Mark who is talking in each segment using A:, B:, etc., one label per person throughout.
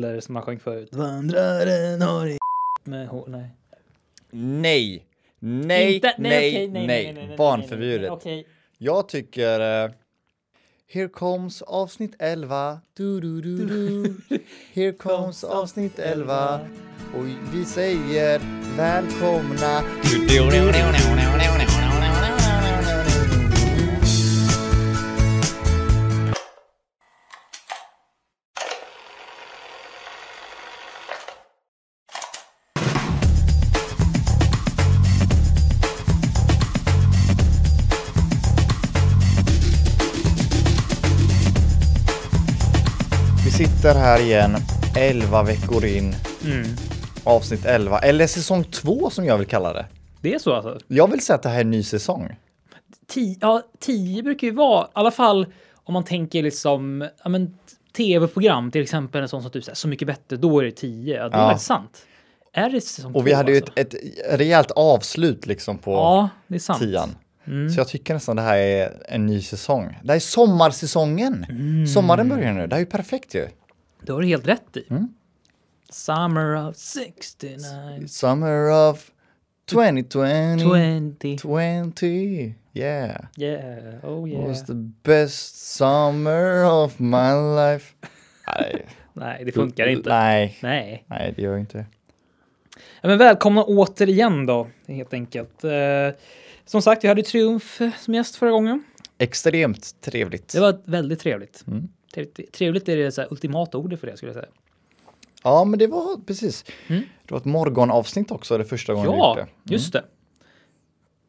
A: Eller som man sjöng förut. Vandraren har i med H, nej.
B: Nej! Nej,
C: Inte-
B: nej, nej,
C: okej,
B: barnförbjudet.
C: nej, Okej.
B: Jag tycker... eh, Here comes avsnitt 11. Du, du, du, du. Here comes avsnitt 11. Och vi säger välkomna. Vi sitter här igen 11 veckor in.
A: Mm.
B: Avsnitt 11, eller säsong 2 som jag vill kalla det.
A: Det är så alltså?
B: Jag vill säga att det här är en ny säsong.
A: Tio, ja, tio brukar ju vara, i alla fall om man tänker liksom, ja men tv-program till exempel, en sån som typ så, här, så mycket bättre, då är det tio. Ja, det är
B: Ja.
A: väldigt sant. Är det säsong två,
B: Och vi hade ju
A: alltså?
B: ett, ett rejält avslut liksom på
A: Ja, det är sant. Mm.
B: tian. Så jag tycker nästan det här är en ny säsong. Det här är sommarsäsongen!
A: Mm.
B: Sommaren börjar nu, det här är ju perfekt ju.
A: Det har du helt rätt i.
B: Mm.
A: Summer of 69,
B: Summer of
A: 20,
B: 2020. 20, yeah.
A: yeah, oh
B: It
A: yeah.
B: was the best summer of my life. Nej,
A: Nej, det funkar inte.
B: Nej,
A: Nej.
B: nej det gör jag inte.
A: Ja, men välkomna återigen då, helt enkelt. Eh, som sagt, vi hade Triumf som gäst förra gången.
B: Extremt trevligt.
A: Det var väldigt trevligt.
B: Mm.
A: Trevligt, trevligt är det så här ultimata ordet för det, skulle jag säga.
B: Ja, men det var precis. Det var ett morgonavsnitt också, det första gången vi
A: Mm. Ja,
B: gjort det. Mm.
A: just det.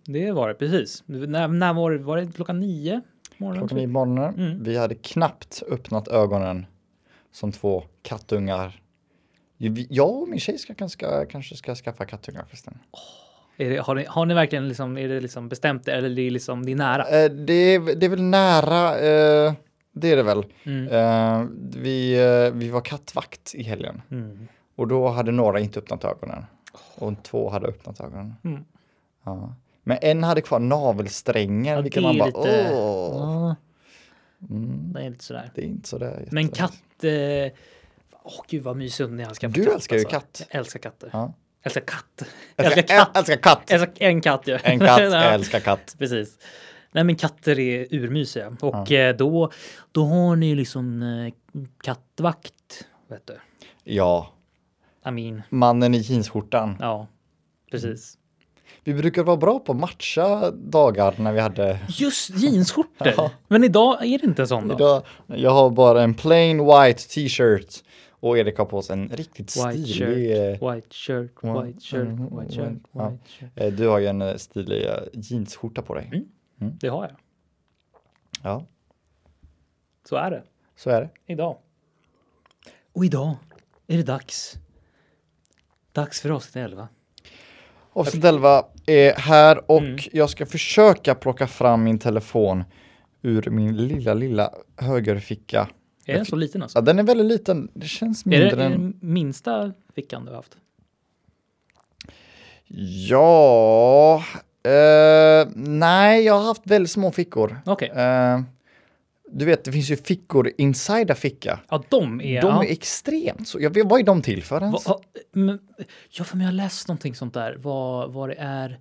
A: Det var det, precis. När, när var det? Var det klockan nio? Morgonen, typ?
B: Klockan nio på morgonen.
A: Mm.
B: Vi hade knappt öppnat ögonen som två kattungar. Vi- Jag och min tjej ska, kanske- kanske ska skaffa kattungar förresten.
A: Är det, har, ni, har ni verkligen liksom, är det liksom bestämt det, eller är det, liksom, det är nära?
B: Eh, det, är, det är väl nära, eh, det är det väl.
A: Mm.
B: Eh, vi, eh, vi var kattvakt i helgen
A: Mm.
B: och då hade några inte öppnat ögonen och två hade öppnat ögonen.
A: Mm.
B: Ja. Men en hade kvar navelsträngen,
A: Ja,
B: vilket
A: det
B: man
A: är
B: bara
A: lite-
B: åh.
A: Ja,
B: Mm,
A: det är lite sådär.
B: det är inte så där.
A: Men
B: jätte-
A: katt... eh, Åh gud vad mysig hund jag ska
B: Du älskar ju
A: alltså.
B: katt.
A: Jag älskar katter.
B: Ja.
A: Älskar katt.
B: Älskar,
A: Älskar katt.
B: älskar katt.
A: Älskar en katt ju.
B: En katt,
A: Ja,
B: jag älskar katt.
A: Precis. Nej men katter är urmysiga. Och eh, då, då har ni ju liksom eh, kattvakt. Vet du.
B: Ja,
A: I mean,
B: mannen i jeansskjortan.
A: ja. Precis.
B: Mm. Vi brukar vara bra på att matcha dagar när vi hade.
A: Just jeansskjortor.
B: Ja.
A: Men idag är det inte en sån dag.
B: Idag, jag har bara en plain white t-shirt och Erik har på sig en riktigt
A: White
B: stilig.
A: shirt,
B: eh,
A: white shirt,
B: Ja,
A: white shirt,
B: mm,
A: white shirt,
B: ja.
A: white shirt.
B: eh, Du har ju en eh, stilig eh, jeansskjorta på
A: Mm.
B: dig.
A: Det har jag.
B: Ja,
A: Så är det.
B: så är det.
A: Idag. Och idag är det dags. Dags för avsnitt 11.
B: Avsnitt 11 är här och
A: Mm.
B: jag ska försöka plocka fram min telefon ur min lilla, lilla högerficka.
A: Är den så liten alltså?
B: Ja, den är väldigt liten. Det känns
A: Är det,
B: mindre
A: är
B: än...
A: det minsta fickan du har haft?
B: Ja, eh, nej, jag har haft väldigt små fickor.
A: Okej.
B: Eh, du vet, det finns ju fickor inside a ficka.
A: Ja, de är...
B: De
A: ja.
B: är extremt så. Jag vet, vad är de till för
A: Va,
B: ens?
A: ha, men, ja, för men jag har läst någonting sånt där. Vad, vad det är.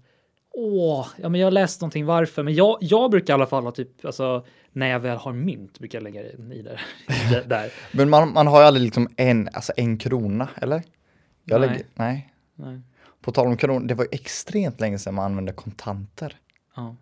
A: Åh, ja, men jag har läst någonting varför. Men jag, jag brukar i alla fall ha typ, alltså, när jag väl har mynt brukar jag lägga i, i där. i det- där.
B: Men man, man har ju aldrig liksom en, alltså en krona, eller? Jag
A: Nej.
B: nej. Lägger, nej.
A: Nej.
B: På tal om kronor, det var ju extremt länge sedan man använde kontanter.
A: Ja.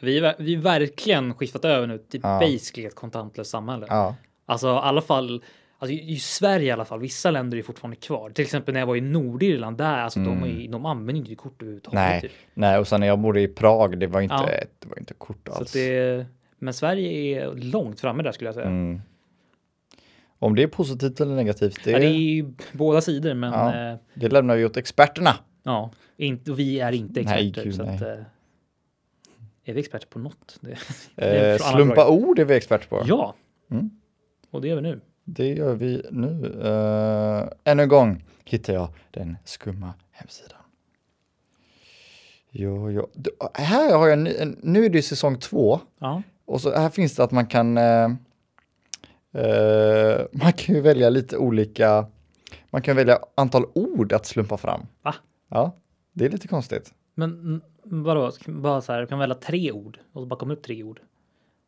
A: Vi är ver- vi är verkligen skiftat över nu till
B: Ja.
A: basically ett kontantlöst samhälle.
B: Ja.
A: Alltså i alla fall, alltså, i i Sverige i alla fall, vissa länder är fortfarande kvar. Till exempel när jag var i Nordirland, där, alltså, de, är, ju- de använder inte kort överhuvudtaget.
B: Mm. Nej.
A: Typ.
B: Nej, och sen när jag bodde i Prag, det var inte,
A: Ja.
B: det var inte kort
A: Så
B: alls.
A: att det, men Sverige är långt framme där skulle jag säga.
B: Mm. Om det är positivt eller negativt, det,
A: Ja, det är ju båda sidor, men
B: Ja.
A: ja,
B: det lämnar vi åt experterna.
A: ja inte, och vi är inte
B: Nej,
A: experter.
B: gud,
A: så
B: nej.
A: att, eh, är vi experter på något? Det, det är en
B: Eh,
A: annan
B: slumpa
A: fråga.
B: ord är vi experter på.
A: Ja,
B: Mm.
A: och det gör vi nu.
B: Det gör vi nu. Eh, ännu en gång hittar jag den skumma hemsidan. Jo, jo. Du, här har jag, en ny- en- nu är det ju säsong två
A: Ja.
B: och så här finns det att man kan eh, Eh, man kan ju välja lite olika, man kan välja antal ord att slumpa fram.
A: Va?
B: Ja, det är lite konstigt.
A: Men mm, vadå, Ska man bara så här, kan man välja tre ord och så bara komma upp tre ord?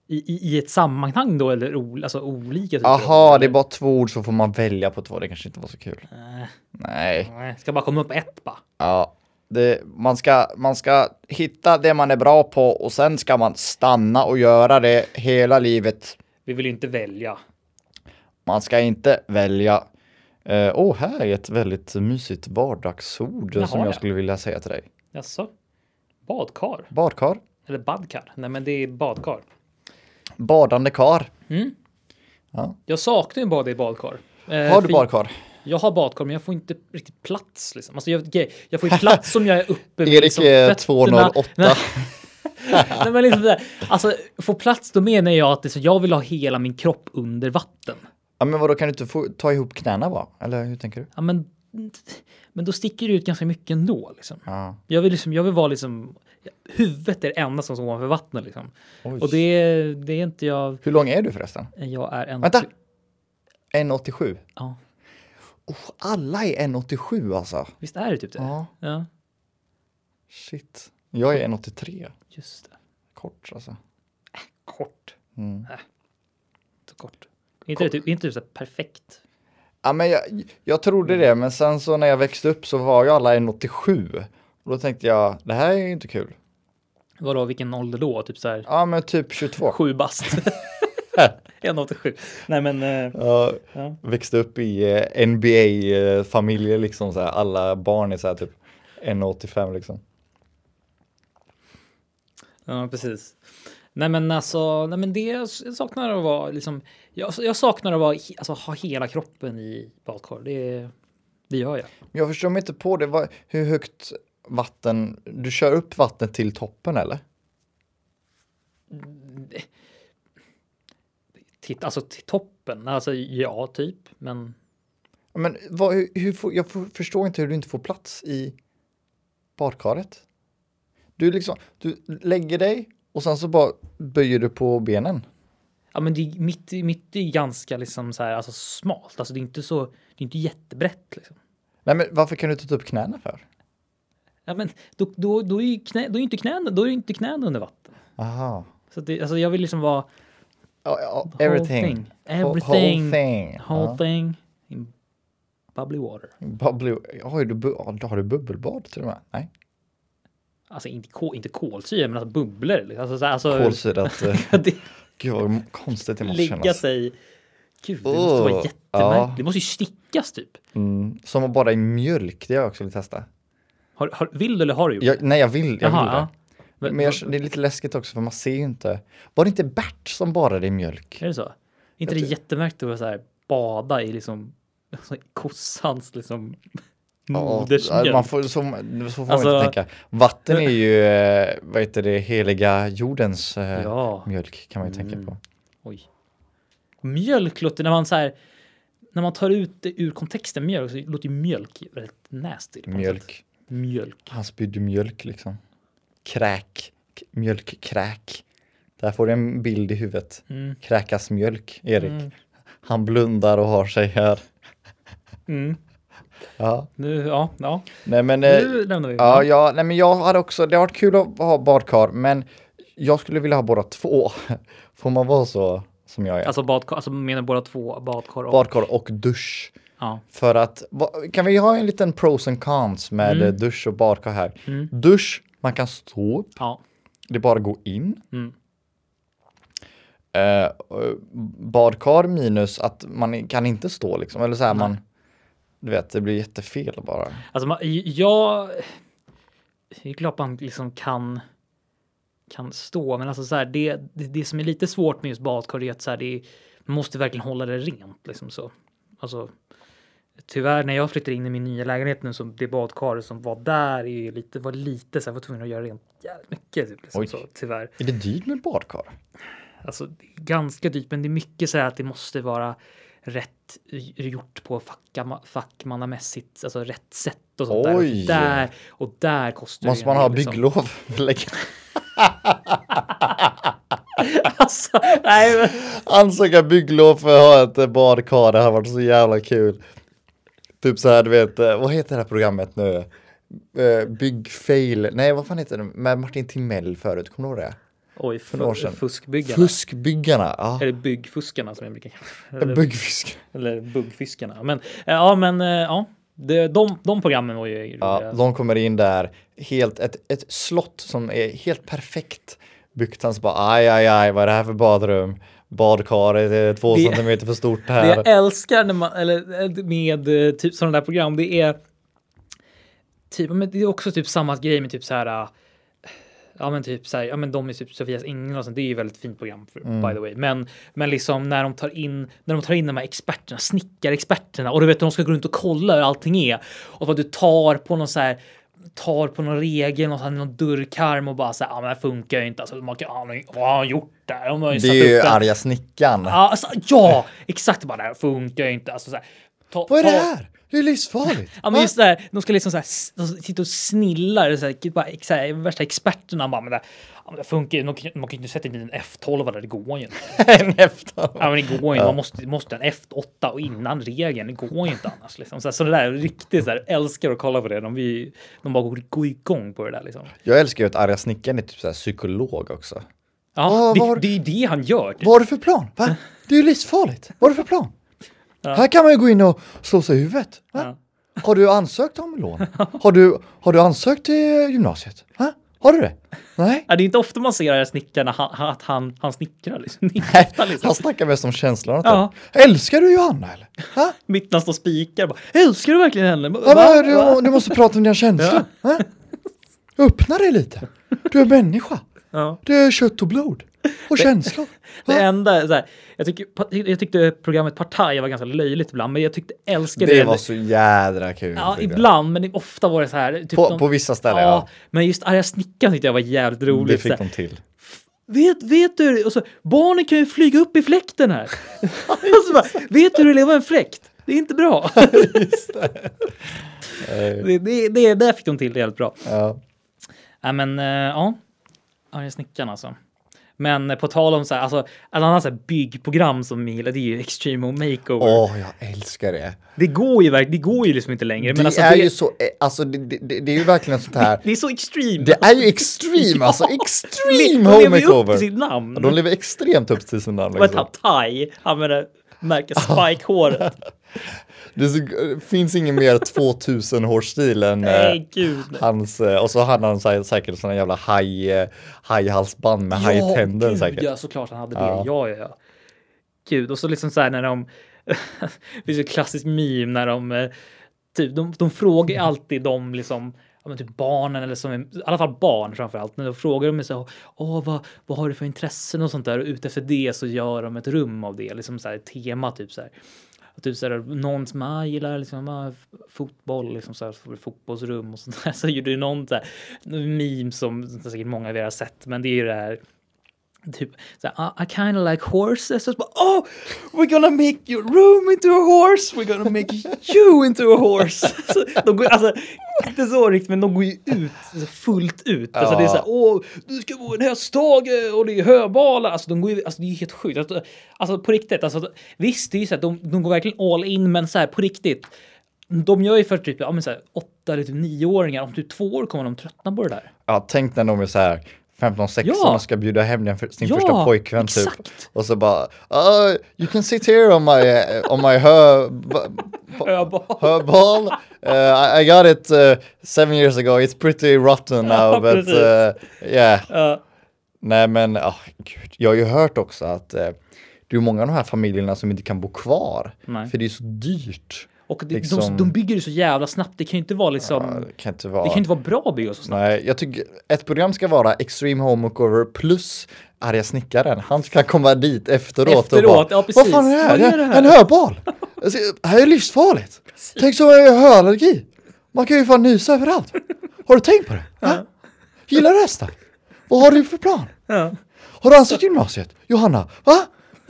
A: I, i, i ett sammanhang då eller ol, alltså olika? typer av
B: Aha,
A: ord,
B: det är
A: eller?
B: bara två ord så får man välja på två, det kanske inte var så kul.
A: Nej,
B: Nej,
A: Eh, nej, ska bara komma upp ett bara.
B: ja. Det, man, ska, man ska hitta det man är bra på och sen ska man stanna och göra det hela livet.
A: Vi vill ju inte välja.
B: Man ska inte välja. Åh, eh, åh, här är ett väldigt mysigt vardagsord
A: Jaha,
B: som jag
A: ja.
B: skulle vilja säga till dig.
A: Jaså? Badkar?
B: Badkar,
A: Eller badkar? Nej, men det är badkar.
B: badande kar.
A: Mm.
B: Ja.
A: Jag saknar ju bara det i badkar. Eh,
B: Har du
A: för-
B: badkar?
A: Jag har badkar, men jag får inte riktigt plats. Liksom. Alltså, jag, okej, jag får ju plats om jag är uppe
B: Erik
A: liksom,
B: är
A: fötterna.
B: 208.
A: Nej. Nej, men liksom sådär. Alltså, få plats, då menar jag att liksom, jag vill ha hela min kropp under vatten.
B: Ja, men vadå, kan du inte få, ta ihop knäna bara? Eller hur tänker du?
A: Ja, men, men då sticker det ut ganska mycket ändå. Liksom.
B: Ja.
A: Jag, vill liksom, jag vill vara liksom... Huvudet är det enda som står ovanför vattnet. Liksom.
B: Oj.
A: Och det, det är inte jag...
B: Hur lång är du förresten?
A: Jag är en... typ-
B: Vänta! 1,87.
A: Ja,
B: Oh, alla är 1,87 alltså.
A: visst är det typ det?
B: Ja,
A: Ja,
B: shit. Jag är 1,83.
A: just det.
B: Kort alltså.
A: Kort.
B: Mm.
A: Äh, Så kort. Är inte det typ, är inte det typ så här perfekt?
B: Ja, men jag, jag trodde det, men sen så när jag växte upp så var ju alla 1,87. Och då tänkte jag, det här är ju inte kul.
A: Vadå, vilken ålder då? Typ så här
B: Ja, men typ 22.
A: sju bast? 1,87. Nej men, eh,
B: Jag
A: Ja.
B: växte upp i eh, NBA-familjer liksom, så här. alla barn är så här typ 1,85 liksom.
A: ja precis. Nej men alltså, nej men det jag saknar att vara liksom, jag, jag saknar att vara, he- alltså, ha hela kroppen i badkar. Det, det gör jag.
B: Men Jag förstår mig inte på det, Vad- hur högt vatten, du kör upp vattnet till toppen eller?
A: Titta, alltså till toppen, alltså ja typ, men
B: Men vad, hur, hur får, jag får- förstår inte hur du inte får plats i badkaret. Du, liksom, du lägger dig och sen så bara böjer du på benen.
A: Ja, men det är mitt, i- mitt är ganska liksom så här, alltså smalt. Alltså det är inte så, det är inte jättebrett liksom.
B: Nej men varför kan du inte ta upp knäna för?
A: Ja, men då, då, då är ju knä, då är ju inte knäna, då är ju inte knäna under vatten.
B: Aha.
A: Så att det, alltså jag vill liksom vara
B: Ja, ja,
A: the whole
B: everything.
A: thing.
B: Whole-
A: Everything.
B: Whole thing.
A: Whole
B: Ja.
A: thing in bubbly water.
B: Bubbly, har, du, bu- ja, har du bubbelbad till och med? Nej.
A: Alltså inte, kol, inte kolsyra, men alltså bubblor. liksom. Alltså, så här, alltså,
B: Kolsyrat. eh,
A: det,
B: Gud vad konstigt det måste
A: ligga
B: kännas.
A: sig. Gud, det måste vara
B: Åh,
A: jättemärkligt.
B: ja.
A: Det måste ju stickas typ.
B: Mm. Som att bada i mjölk, det har jag också velat testa.
A: Har, har, vill du eller har du gjort?
B: Jag, nej, jag vill, jag
A: Jaha,
B: vill det.
A: ja. Men,
B: Men jag, det är lite läskigt också för man ser ju inte. Var det inte Bert som badade i mjölk?
A: Är det så? Är inte det
B: tror-
A: jättemärkligt att vara så här, bada i liksom alltså, i kossans liksom
B: Ja,
A: modersmjölk?
B: man får, så, så får man
A: Alltså-
B: inte tänka. Vatten är ju, eh, vad heter det, heliga jordens eh,
A: Ja,
B: mjölk kan man ju tänka
A: Mm.
B: på.
A: oj. Mjölk låter när man så här när man tar ut det ur kontexten mjölk så låter ju mjölk väldigt nasty. på något sätt.
B: Mjölk.
A: Mjölk.
B: Han spydde mjölk liksom. Kräk. K- Mjölkkräk. Där får du en bild i huvudet.
A: Mm.
B: Kräkas mjölk, Erik.
A: Mm.
B: Han blundar och har sig här.
A: Mm.
B: Ja,
A: Nu, ja, ja.
B: nej men. eh,
A: nu lämnar vi.
B: Ja, ja, nej men jag hade också, det har varit kul att ha badkar, men jag skulle vilja ha båda två. Får man vara så som jag är?
A: Alltså badkar, alltså menar båda två badkar och...
B: badkar och dusch.
A: Ja.
B: För att, va- kan vi ha en liten pros and cons med
A: Mm.
B: eh, dusch och badkar här?
A: Mm.
B: Dusch, man kan stå upp,
A: Ja.
B: det är bara att gå in.
A: Mm.
B: Eh, och badkar minus att man kan inte stå liksom, eller så här
A: Nej.
B: man, du vet, det blir jättefel bara.
A: Alltså, man, jag... Det är klart man liksom kan, kan stå, men alltså så här, det, det, det som är lite svårt med just badkar är att så här, det är, man måste verkligen hålla det rent. Liksom så. Alltså, tyvärr, när jag flyttade in i min nya lägenhet nu, så det badkar som var där är ju lite, var lite så här, var tvungen att göra rent jävligt mycket. Typ, liksom,
B: Oj.
A: så, tyvärr.
B: Är det dyrt med badkar?
A: Alltså, det är ganska dyrt, men det är mycket så här att det måste vara rätt gjort på facka, fackmannamässigt, alltså rätt sätt och sånt
B: Oj.
A: där. där. Och där kostar det liksom-
B: Måste
A: ju
B: man
A: en
B: ha
A: del, liksom.
B: bygglov? Lägg-
A: alltså, nej, men,
B: Ansöka bygglov för att ha ett eh, badkar, det hade varit så jävla kul. Typ så här, du vet, eh, vad heter det här programmet nu? Eh, Byggfail, nej vad fan heter det med Martin Timell förut, kommer du ihåg det?
A: oj,
B: några år
A: fu-
B: sedan.
A: fuskbyggarna.
B: Fuskbyggarna, ja.
A: Eller byggfuskarna som jag brukar kalla det.
B: Mm.
A: Eller-
B: Byggfisk.
A: Eller buggfiskarna. Men eh, ja, men eh, ja, det, de, de programmen var ju roliga. alltså.
B: Ja, de kommer in där, helt, ett, ett slott som är helt perfekt byggt. Han så bara aj, aj, aj, vad är det här för badrum? Badkaret är två
A: Det-
B: centimeter för stort
A: det
B: här.
A: jag älskar när man, eller, eh, med eh, typ sådana där program, det är typ, men det är också typ samma grej med typ så här eh, Ja men typ så här, ja men de är typ Sofias änglar och sånt, det är ju väldigt fint program för,
B: Mm.
A: by the way. Men, men liksom när de tar in, när de tar in de här experterna, snickarexperterna och du vet de ska gå runt och kolla hur allting är och vad du tar på någon så här tar på någon regel och så här, någon dörrkarm och bara så här, ja men det här funkar ju inte alltså. Man kan, ja, men, vad har han gjort där? De har ju
B: Det
A: satt
B: är ju
A: upp en-
B: arga snickaren.
A: Ja, alltså, ja exakt. Bara, det här funkar ju inte. Alltså, så här, ta,
B: Vad är det
A: ta-
B: här? Det är livsfarligt.
A: Ja,
B: Va?
A: men just det här, de ska liksom så här, s- de sitter och snillar, så här, bara, ex- så här, värsta experterna bara, men det, ja, men det funkar ju, man kan man kan ju inte sätta in en F12 där, det går ju inte.
B: en efter.
A: Ja, men det går ju inte, man måste, måste en F8 och innan regeln, det går ju inte annars. Liksom. Så, här, så det där, riktigt så här, älskar att kolla på det, de, vi, de bara går, går igång på det där liksom.
B: Jag älskar ju att arga snickaren är typ så här psykolog också.
A: Ja,
B: Ah,
A: det,
B: var-
A: det är ju det han gör. typ.
B: Vad har du för plan? Va? Det är ju livsfarligt. Vad har du för plan?
A: Ja.
B: Här kan man ju gå in och slå sig i huvudet. Va?
A: Ja.
B: Har du ansökt om lån? Har du, har du ansökt till gymnasiet? Va? Har du det? Nej.
A: Ja, det är inte ofta man ser den här snickaren han- han- att han, han snickrar. Liksom. Det är inte ofta, liksom.
B: Han snackar mest om känslorna.
A: Ja.
B: Typ. Älskar du Johanna eller? Va?
A: Mitt när han står och spikar. Bara, Älskar du verkligen henne? Va?
B: Va? Va?
A: Va?
B: Du, du måste prata om dina känslor. Va? Öppna dig lite. Du är människa.
A: Ja.
B: Det är kött och blod. Och känslor.
A: Det
B: Va?
A: enda, så här, jag, tycker, jag tyckte programmet Partaj var ganska löjligt ibland, men jag tyckte älskade
B: Det var så jädra kul.
A: Ja,
B: tyckte jag.
A: ibland, men ofta var det så här. Typ
B: På,
A: de-
B: på vissa
A: ja,
B: ställen ja. Mm,
A: men just arga snickaren tyckte jag var jävligt
B: Det
A: roligt. så
B: fick
A: här,
B: de till.
A: vet, vet du, och så, barnen kan ju flyga upp i fläkten här. och så bara, vet du hur det lever en fläkt? Det är inte bra.
B: Eh,
A: det, det, det, där fick de till det jävligt bra.
B: Ja.
A: Ja, men eh, ja. Arga snickaren alltså. Men eh, på tal om så här, alltså, alla andra så här byggprogram som vi gillar, det är ju Extreme Home Makeover.
B: Åh, jag älskar det.
A: Det går ju verkligen, det går ju liksom inte längre.
B: Det
A: Men alltså,
B: är
A: det,
B: ju så, eh, alltså det, det, det- det är ju verkligen sånt här.
A: det är så extreme.
B: Det är ju extreme, alltså extreme home
A: lever ju upp till
B: makeover.
A: sitt namn.
B: De lever extremt upp till sina namn.
A: Vad hette
B: liksom.
A: han? Thai? Han med det märket Spike-håret.
B: Det är så- eh, finns ingen mer 2000 hårsstil än eh,
A: Nej, gud. nej.
B: hans, eh, och så hade han sä- säkert såna jävla haj, eh, hajhalsband med hajtänder
A: gud,
B: säkert.
A: Ja, såklart han hade det.
B: Ja.
A: Ja, ja, ja. Gud, och så liksom så här när de... det finns ju ett klassiskt meme när de... eh, Typ, de, de frågar ju
B: Mm.
A: alltid de liksom... Ja, men typ barnen eller som, är- i alla fall barn framför allt. När de frågar dem så här, Åh, vad, vad har du för intressen och sånt där och utefter det så gör de ett rum av det, liksom så här ett tema typ så här. Och typ så här, någon som ah, gillar liksom, ah, f- fotboll, liksom så här, så får du fotbollsrum och sånt där. Så gjorde det någon så här, meme som säkert många av er har sett, men det är ju det här typ så här, I, I kind of like horses. Och så bara, oh, we're gonna make your room into a horse, we're gonna make you into a horse. Så de går, alltså, inte så riktigt, men de går ju ut alltså, fullt ut. Alltså, Det är så här, åh, du ska bo i en höstage och det är höbalar. Alltså, de går ju, alltså, det är ju helt sjukt. Alltså, alltså på riktigt, alltså, visst, det är ju så att de, de går verkligen all in, men så här på riktigt. De gör ju för typ ja, men så här, åtta eller typ nioåringar, om typ två år kommer de tröttna på det där.
B: Ja, tänk när de är så här 15-16
A: Ja.
B: och ska bjuda hem den för, sin
A: Ja,
B: första pojkvän typ.
A: exakt.
B: Och så bara, "Ah, you can sit here on my, eh, on my hö, ba- ba-
A: Höbal.
B: her ball. Uh, I, I got it uh, seven years ago. It's pretty rotten now,
A: Ja,
B: but
A: precis.
B: uh, yeah.
A: Ja.
B: Nej, men ah, gud. jag har ju hört också att eh, det är många av de här familjerna som inte kan bo kvar
A: Nej.
B: för det är så dyrt.
A: Och det,
B: Liksom-
A: de, de bygger det så jävla snabbt. Det kan ju inte vara liksom.
B: Ja, det kan inte vara.
A: Det kan ju inte vara bra att bygga så snabbt.
B: Nej, jag tycker ett program ska vara Extreme Home Makeover plus Arga snickaren. Han kan komma dit efteråt, och bara,
A: Efteråt, ja, precis.
B: Vad fan är det här?
A: Vad är det här?"
B: En höbal! Alltså, det här är livsfarligt! Tänk så är höallergi! Man kan ju fan nysa överallt! Har du tänkt på det? Ja. Gillar du hästar? Vad har du för plan?
A: Ja.
B: Har du ansökt till gymnasiet? Johanna? Va?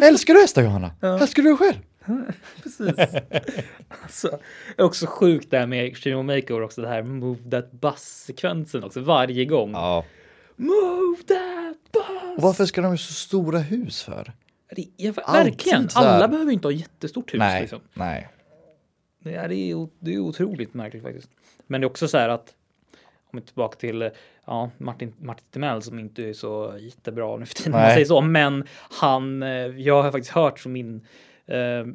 B: Älskar du hästar Johanna? Älskar du dig själv?
A: Precis. alltså, det är också sjukt det här med Extreme Makeover också. Det här move that bus sekvensen också varje gång.
B: Ja.
A: Move that bus!
B: Och varför ska de ha så stora hus för?
A: Det är, ver-
B: Alltid
A: verkligen.
B: så här.
A: Alla behöver ju inte ha jättestort hus.
B: nej,
A: Liksom.
B: nej.
A: Det, är, det, är, o- det är otroligt märkligt faktiskt. Men det är också så här att om vi är tillbaka till eh, ja, Martin, Martin Timell som inte är så jättebra nu för tiden om man
B: Nej.
A: säger så. Men han, eh, jag har faktiskt hört från min eh, eh,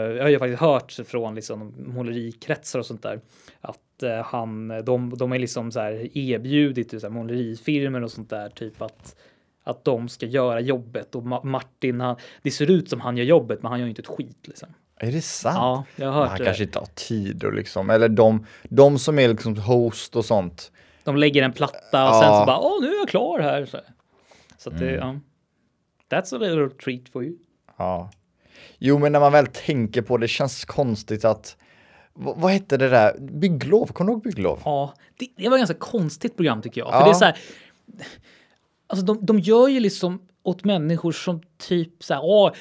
A: jag har ju faktiskt hört från liksom målerikretsar och sånt där att eh, han, de, de är liksom så här erbjudit till så här målerifirmor och sånt där typ att att de ska göra jobbet och Ma- Martin, han, det ser ut som han gör jobbet men han gör ju inte ett skit liksom.
B: Är det sant?
A: Ja, jag har hört
B: Han
A: det.
B: kanske inte har tid och liksom, eller de, de som är liksom host och sånt.
A: De lägger en platta och sen
B: Ja.
A: så bara åh nu är jag klar här. Så, så att det, ja. That's a little treat for you.
B: Ja. Jo, men när man väl tänker på det känns konstigt att, v- vad hette det där, bygglov, kommer du ihåg bygglov?
A: Ja, det, det var ett ganska konstigt program tycker jag. För
B: Ja.
A: det är så här, alltså de, de gör ju liksom åt människor som typ så här, åh,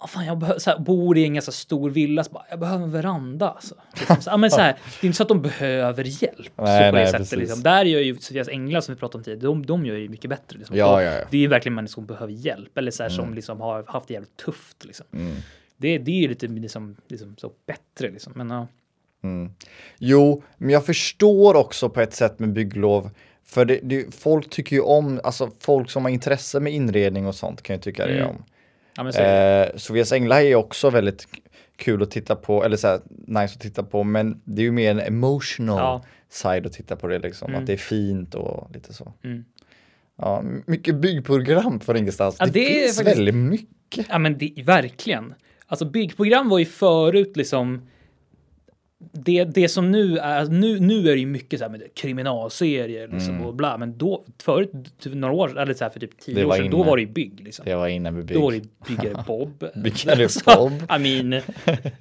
A: ah, fan, jag behö- så här, bor i en ganska stor villa, så bara, jag behöver en veranda. Alltså. Liksom, så, ja, men så här, det är inte så att de behöver hjälp. så
B: Nej,
A: på det
B: nej,
A: sättet,
B: precis.
A: liksom. Där gör ju Sofias Änglar som vi pratade om tidigare, de, de gör ju mycket bättre. Liksom.
B: Ja,
A: De-
B: ja, Mm. ja.
A: Det är ju verkligen människor som behöver hjälp eller så här, som liksom har haft det jävligt tufft. Liksom.
B: Mm.
A: Det, det är ju lite liksom, liksom, så bättre. Liksom. Men, ja.
B: Jo, men jag förstår också på ett sätt med bygglov, för det, det, folk tycker ju om, alltså folk som har intresse med inredning och sånt kan ju tycka det
A: Mm.
B: om.
A: Ja, men så, är det.
B: Eh, Sofias änglar är ju också väldigt k- kul att titta på, eller så här, nice att titta på, men det är ju mer en emotional
A: Ja.
B: side att titta på det liksom, att det är fint och lite så.
A: Mm.
B: Ja, m- mycket byggprogram från ingenstans.
A: Ja,
B: det,
A: det är
B: finns
A: faktiskt-
B: väldigt mycket.
A: Ja men det, verkligen. Alltså byggprogram var ju förut liksom det, det som nu är, alltså, nu, nu är det ju mycket så här med kriminalserier liksom och bla, men då förut, typ några år, eller så här för typ
B: Mm. Det
A: tio år
B: var
A: sedan, då
B: inne.
A: var det ju bygg liksom.
B: Det var innan vi
A: Då var
B: byggde.
A: det ju byggare Bob.
B: Byggare Bob.
A: I mean,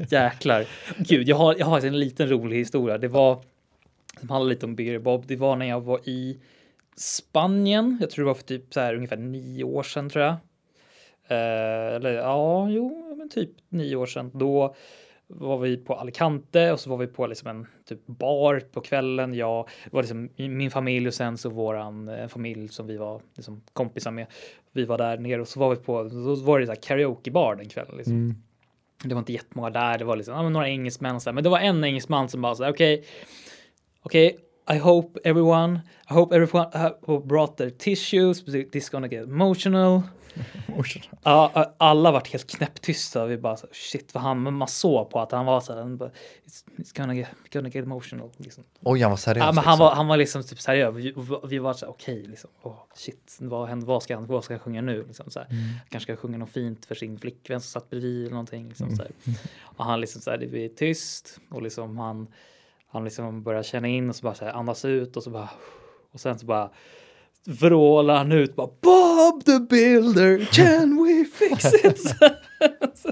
A: jäklar. Gud, jag har, jag har en liten rolig historia. Det var, som handlar lite om byggare Bob, det var när jag var i Spanien. Jag tror det var för typ så här ungefär nio år sedan tror jag. Eh, eller ja, jo, men typ nio år sedan. Då var vi på Alicante och så var vi på liksom en typ bar på kvällen. Jag det var liksom min familj och sen så våran eh, familj som vi var liksom kompisar med. Vi var där nere och så var vi på, då var det så här karaokebar den kvällen. Liksom. Det var inte jättemånga där, det var liksom, ja, men några engelsmän och så där. Men det var en engelsman som bara så här, okej, okej, I hope everyone, I hope everyone uh, who brought their tissues, this is gonna get emotional. Ja, a- alla vart helt knäpptysta. Vi bara så, shit vad han, men man såg på att han var så här, han bara, it's, it's gonna, get, gonna get emotional. Liksom.
B: Oj, han var seriös.
A: Ja, men
B: liksom.
A: han, var, han var liksom typ seriös. Vi, vi var så här, okej, liksom. Åh, shit, vad, händer, vad, ska han, vad ska han sjunga nu? Liksom, så här.
B: Mm.
A: Kanske ska sjunga något fint för sin flickvän som satt bredvid eller någonting. Liksom, så här.
B: Mm.
A: Och han liksom så här, det blir tyst och liksom han, han liksom börjar känna in och så bara så här, andas ut och så bara och sen så bara vrålar han ut bara Bob the builder, can we fix it? Så-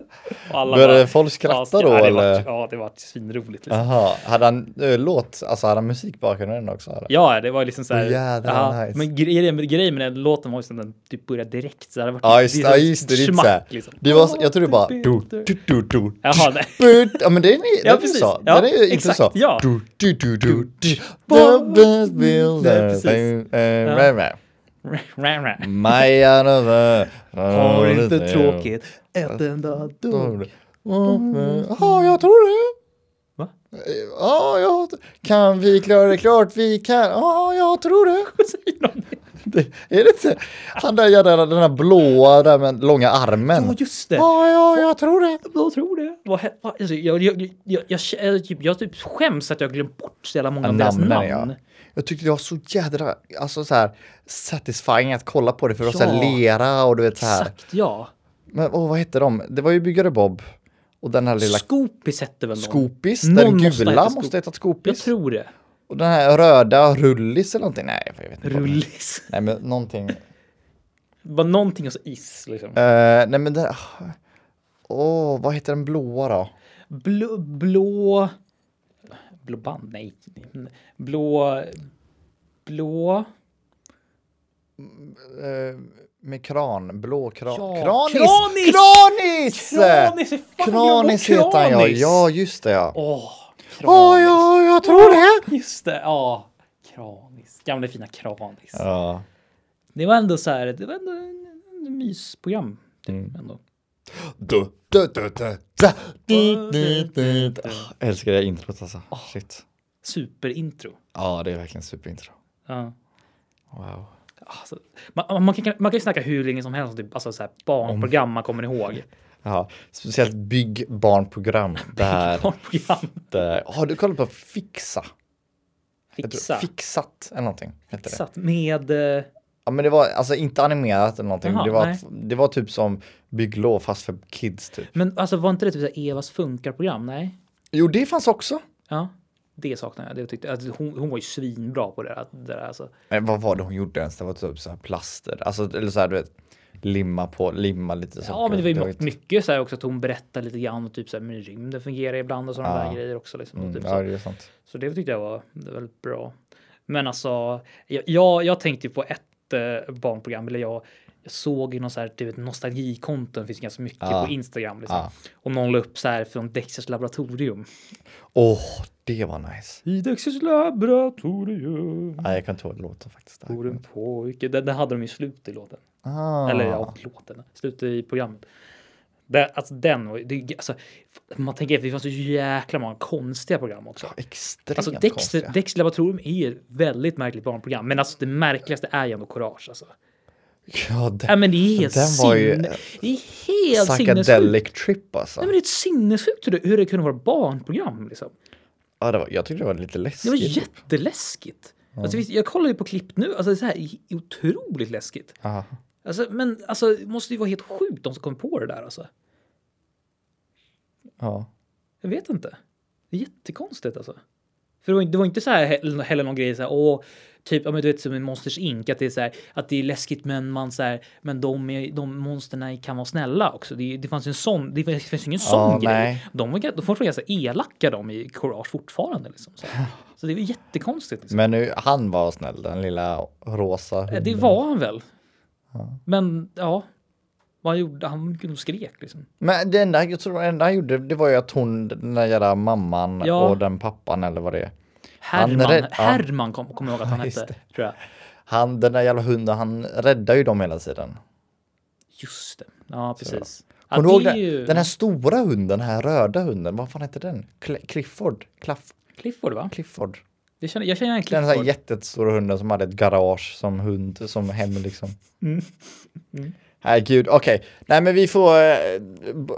A: och alla
B: Började folk
A: ja,
B: skratta då
A: ja, det vart-
B: eller?
A: Ja, det var svinroligt. Liksom.
B: Aha, hade han eh, låt, alltså hade han musik bakom den också? Eller?
A: Ja, det var liksom så här.
B: Åh, jävlar,
A: ja,
B: vad nice.
A: Men grejen med, grejen med den låten var ju som den typ började direkt. Så här, det var
B: Ja, just,
A: är
B: ja,
A: så
B: just det, det är inte
A: smack,
B: så här.
A: liksom.
B: Det var, jag tror det bara... Du,
A: Du-
B: du, du, du,
A: Jaha, nej.
B: du. Ja men det är ni,
A: Ja,
B: ja,
A: precis.
B: så.
A: Ja,
B: den är inte
A: exakt,
B: så.
A: ja.
B: Du, du, du, du, du.
A: Bob-
B: The builder.
A: Nej, precis.
B: Eh, eh, rah, rah.
A: Rah, rah.
B: Maja Röve.
A: Har inte tråkigt ett enda dugg.
B: Ja, jag tror det.
A: Va?
B: Ja, jag kan vi klara det klart vi kan. Ja, jag tror det.
A: Säger någon det?
B: det. Är det inte han där jävla den här blåa där med långa armen?
A: Ja, just det.
B: Ja, ja, jag tror det.
A: Jag tror det. Vad, hä- vad, alltså, jag, jag, jag, jag, jag, typ, jag typ skäms att jag glömt bort så jävla många av deras namn.
B: ja. Jag tyckte det var så jädra, alltså så här satisfying att kolla på det för det var så
A: Ja.
B: här lera och du vet så här.
A: Exakt, ja.
B: Men åh, vad hette de? Det var ju Byggare Bob och den här lilla
A: Skopis hette väl någon?
B: Skopis,
A: Någon
B: den
A: måste ha
B: gula
A: hetat
B: måste ha hetat
A: Jag
B: Skopis.
A: tror det.
B: Och den här röda Rullis eller någonting? Nej, jag vet inte. vad den-
A: Rullis.
B: Nej, men någonting.
A: Bara någonting och så is liksom.
B: Eh, nej, men den... Åh, vad heter den blåa då?
A: Blå... Blå, blå band? Nej. Blå... Blå...
B: Eh, med kran, blå kran.
A: Ja,
B: Kranis!
A: Kranis!
B: Kranis!
A: Kranis! Hur fan glömde jag
B: Kranis
A: bort
B: heter han ja,
A: Kranis?
B: ja just det ja.
A: Åh,
B: Åh,
A: kranis.
B: ja, jag tror det!
A: Just det, ja. Kranis. Gamla fina kranis.
B: Ja.
A: Det var ändå så här, det var ändå en, mysprogram. Typ,
B: Mm.
A: ändå.
B: Du, du, du, du, du, du, du, du, du. Ah, jag Älskar det här introt alltså.
A: Ah.
B: Shit.
A: Superintro.
B: Ja, det är verkligen superintro.
A: Ja.
B: Wow.
A: Alltså, man, man, kan, man kan ju snacka hur länge som helst om typ, alltså, så här, barnprogram man kommer ihåg.
B: Ja, speciellt byggbarnprogram där.
A: Barnprogram.
B: där- Har du kollat på Fixa? Heter det
A: Fixa.
B: Fixat eller någonting. Heter det.
A: Fixat med... eh,
B: Ja, men det var alltså inte animerat eller någonting.
A: Jaha,
B: det, var,
A: nej.
B: det var typ som bygglov fast för kids typ.
A: Men alltså var inte det typ så här Evas funkar-program? Nej.
B: Jo, det fanns också.
A: Ja. Det saknar jag. Det tyckte, alltså, hon, hon var ju svinbra på det där. Det där alltså.
B: Nej, vad var det hon gjorde ens? Det var typ så här plaster, alltså eller så här du vet, limma på, limma lite saker.
A: Ja, men det var ju
B: inte-
A: mycket så här också att hon berättade lite grann och typ så här med rymden fungerar ibland och sådana
B: Ja.
A: där grejer också. Liksom, och
B: Mm,
A: typ
B: ja,
A: så.
B: det är sant.
A: så det tyckte jag var det var väldigt bra. Men alltså, jag, jag, jag tänkte ju på ett eh, barnprogram, eller jag, jag såg ju någon så här typ nostalgikonton finns ju ganska mycket
B: Ja.
A: på Instagram. Liksom.
B: Ja.
A: Och någon la upp så här från Dexters laboratorium.
B: Åh, det var nice.
A: I Dexters laboratorium.
B: Nej, jag kan inte ihåg låten faktiskt.
A: Bor en pojke. Den, den hade de ju slut i låten.
B: Ah.
A: Eller ja, låten. Slut i programmet. Det, alltså den var ju- det, alltså, Man tänker efter, det fanns så jäkla många konstiga program också.
B: Extremt
A: Alltså
B: konstiga.
A: Dexter, Dexter Laboratorium är ju ett väldigt märkligt barnprogram. Men alltså det märkligaste är ju ändå Courage alltså.
B: Ja, den,
A: Nej men det är helt
B: Den var ju
A: sinne... Det är helt sinnessjukt.
B: psychedelic trip alltså.
A: Nej men det är ett sinnessjukt hur det, hur det kunde vara barnprogram liksom.
B: ja, det var, jag tyckte det var lite
A: Det var
B: läskigt.
A: jätteläskigt. Alltså, visst, jag kollar ju på klipp nu, alltså det är så här i- otroligt läskigt.
B: Ja.
A: Alltså, men alltså, det måste ju vara helt sjukt de som kom på det där alltså.
B: ja.
A: Jag vet inte. Det är jättekonstigt alltså. För det var, det var inte så här he- heller någon grej så här, åh, typ, ja men du vet som i Monsters Inc, att det är så här, att det är läskigt men man så här, men de, är, de monsterna kan vara snälla också. Det, det fanns ju en sån, det fanns ju ingen sån
B: Ja,
A: grej.
B: nej.
A: De var, de var ganska elaka de i Courage fortfarande liksom. Så, här. så det var jättekonstigt. Liksom.
B: Men nu, han var snäll, den lilla rosa
A: Eh,
B: hunden.
A: Det var han väl. Men ja, vad han gjorde, han kunde skrek liksom.
B: Men det enda, jag tror, det enda han gjorde, det var ju att hon, den där jävla mamman
A: Ja.
B: och den pappan eller vad det är. Han
A: Herman,
B: rädd- ja.
A: Herman kom- kommer kom ihåg att han
B: Just
A: hette. Tror jag.
B: Han, den där jävla hunden, han räddar ju dem hela tiden.
A: Just det, ja precis. Ja,
B: Kommer du ihåg
A: det är
B: den,
A: ju
B: den här stora hunden, den här röda hunden, vad fan hette den? Cl- Clifford? Claff-
A: Clifford va?
B: Clifford?
A: Jag känner, jag känner en
B: Den här
A: Clifford.
B: jättestora hunden som hade ett garage som hund, som hem liksom.
A: Mm.
B: Herregud, okej. Nej men vi får eh, b-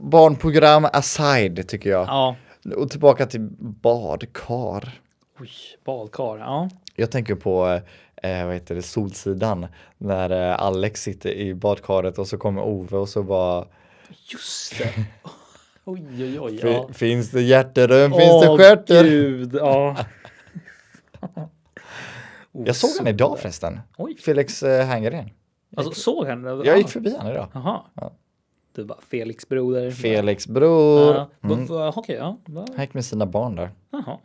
B: barnprogram aside tycker jag.
A: Ja,
B: Och tillbaka till badkar.
A: oj, badkar. Ja.
B: Jag tänker på eh, vad heter det, Solsidan när eh, Alex sitter i badkaret och så kommer Ove och så bara
A: Just det. Oj, oj, oj.
B: "Fi-
A: Ja.
B: Finns det hjärterum, finns det
A: Åh,
B: stjärter?
A: gud, ja.
B: Jag såg han idag förresten.
A: Oj.
B: Felix eh, Herngren.
A: Alltså såg han? den?
B: Jag gick förbi han idag.
A: Jaha.
B: Ja.
A: Du bara Felix broder.
B: Felix bror.
A: Ja, då-
B: Mm.
A: då- Okej, ja. va-
B: Han gick med sina barn där.
A: Jaha,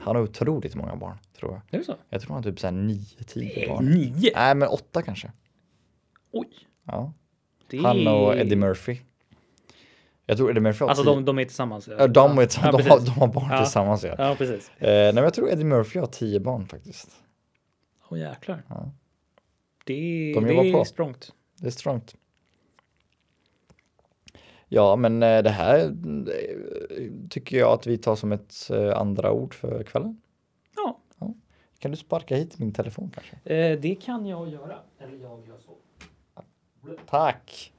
B: Han har otroligt många barn tror jag.
A: det är det så?
B: Jag tror han har typ såhär nio, tio barn.
A: Nio?
B: Nej men åtta kanske.
A: Oj.
B: Ja.
A: Det...
B: Han och Eddie Murphy. Jag tror Eddie Murphy har
A: Alltså
B: tio-
A: de, de är tillsammans?
B: Ja, de, är,
A: ja,
B: de,
A: precis.
B: har, de har barn
A: Ja.
B: tillsammans ja.
A: Ja, precis.
B: Eh, nej, men jag tror Eddie Murphy har tio barn faktiskt.
A: Åh jäklar.
B: Ja.
A: Det,
B: De
A: de
B: jobbar
A: det
B: på.
A: är strongt.
B: Det är strongt. Ja, men eh, det här eh, tycker jag att vi tar som ett eh, andra ord för kvällen.
A: Ja,
B: Kan du sparka hit min telefon kanske?
A: eh, det kan jag göra. Eller jag gör så.
B: Tack!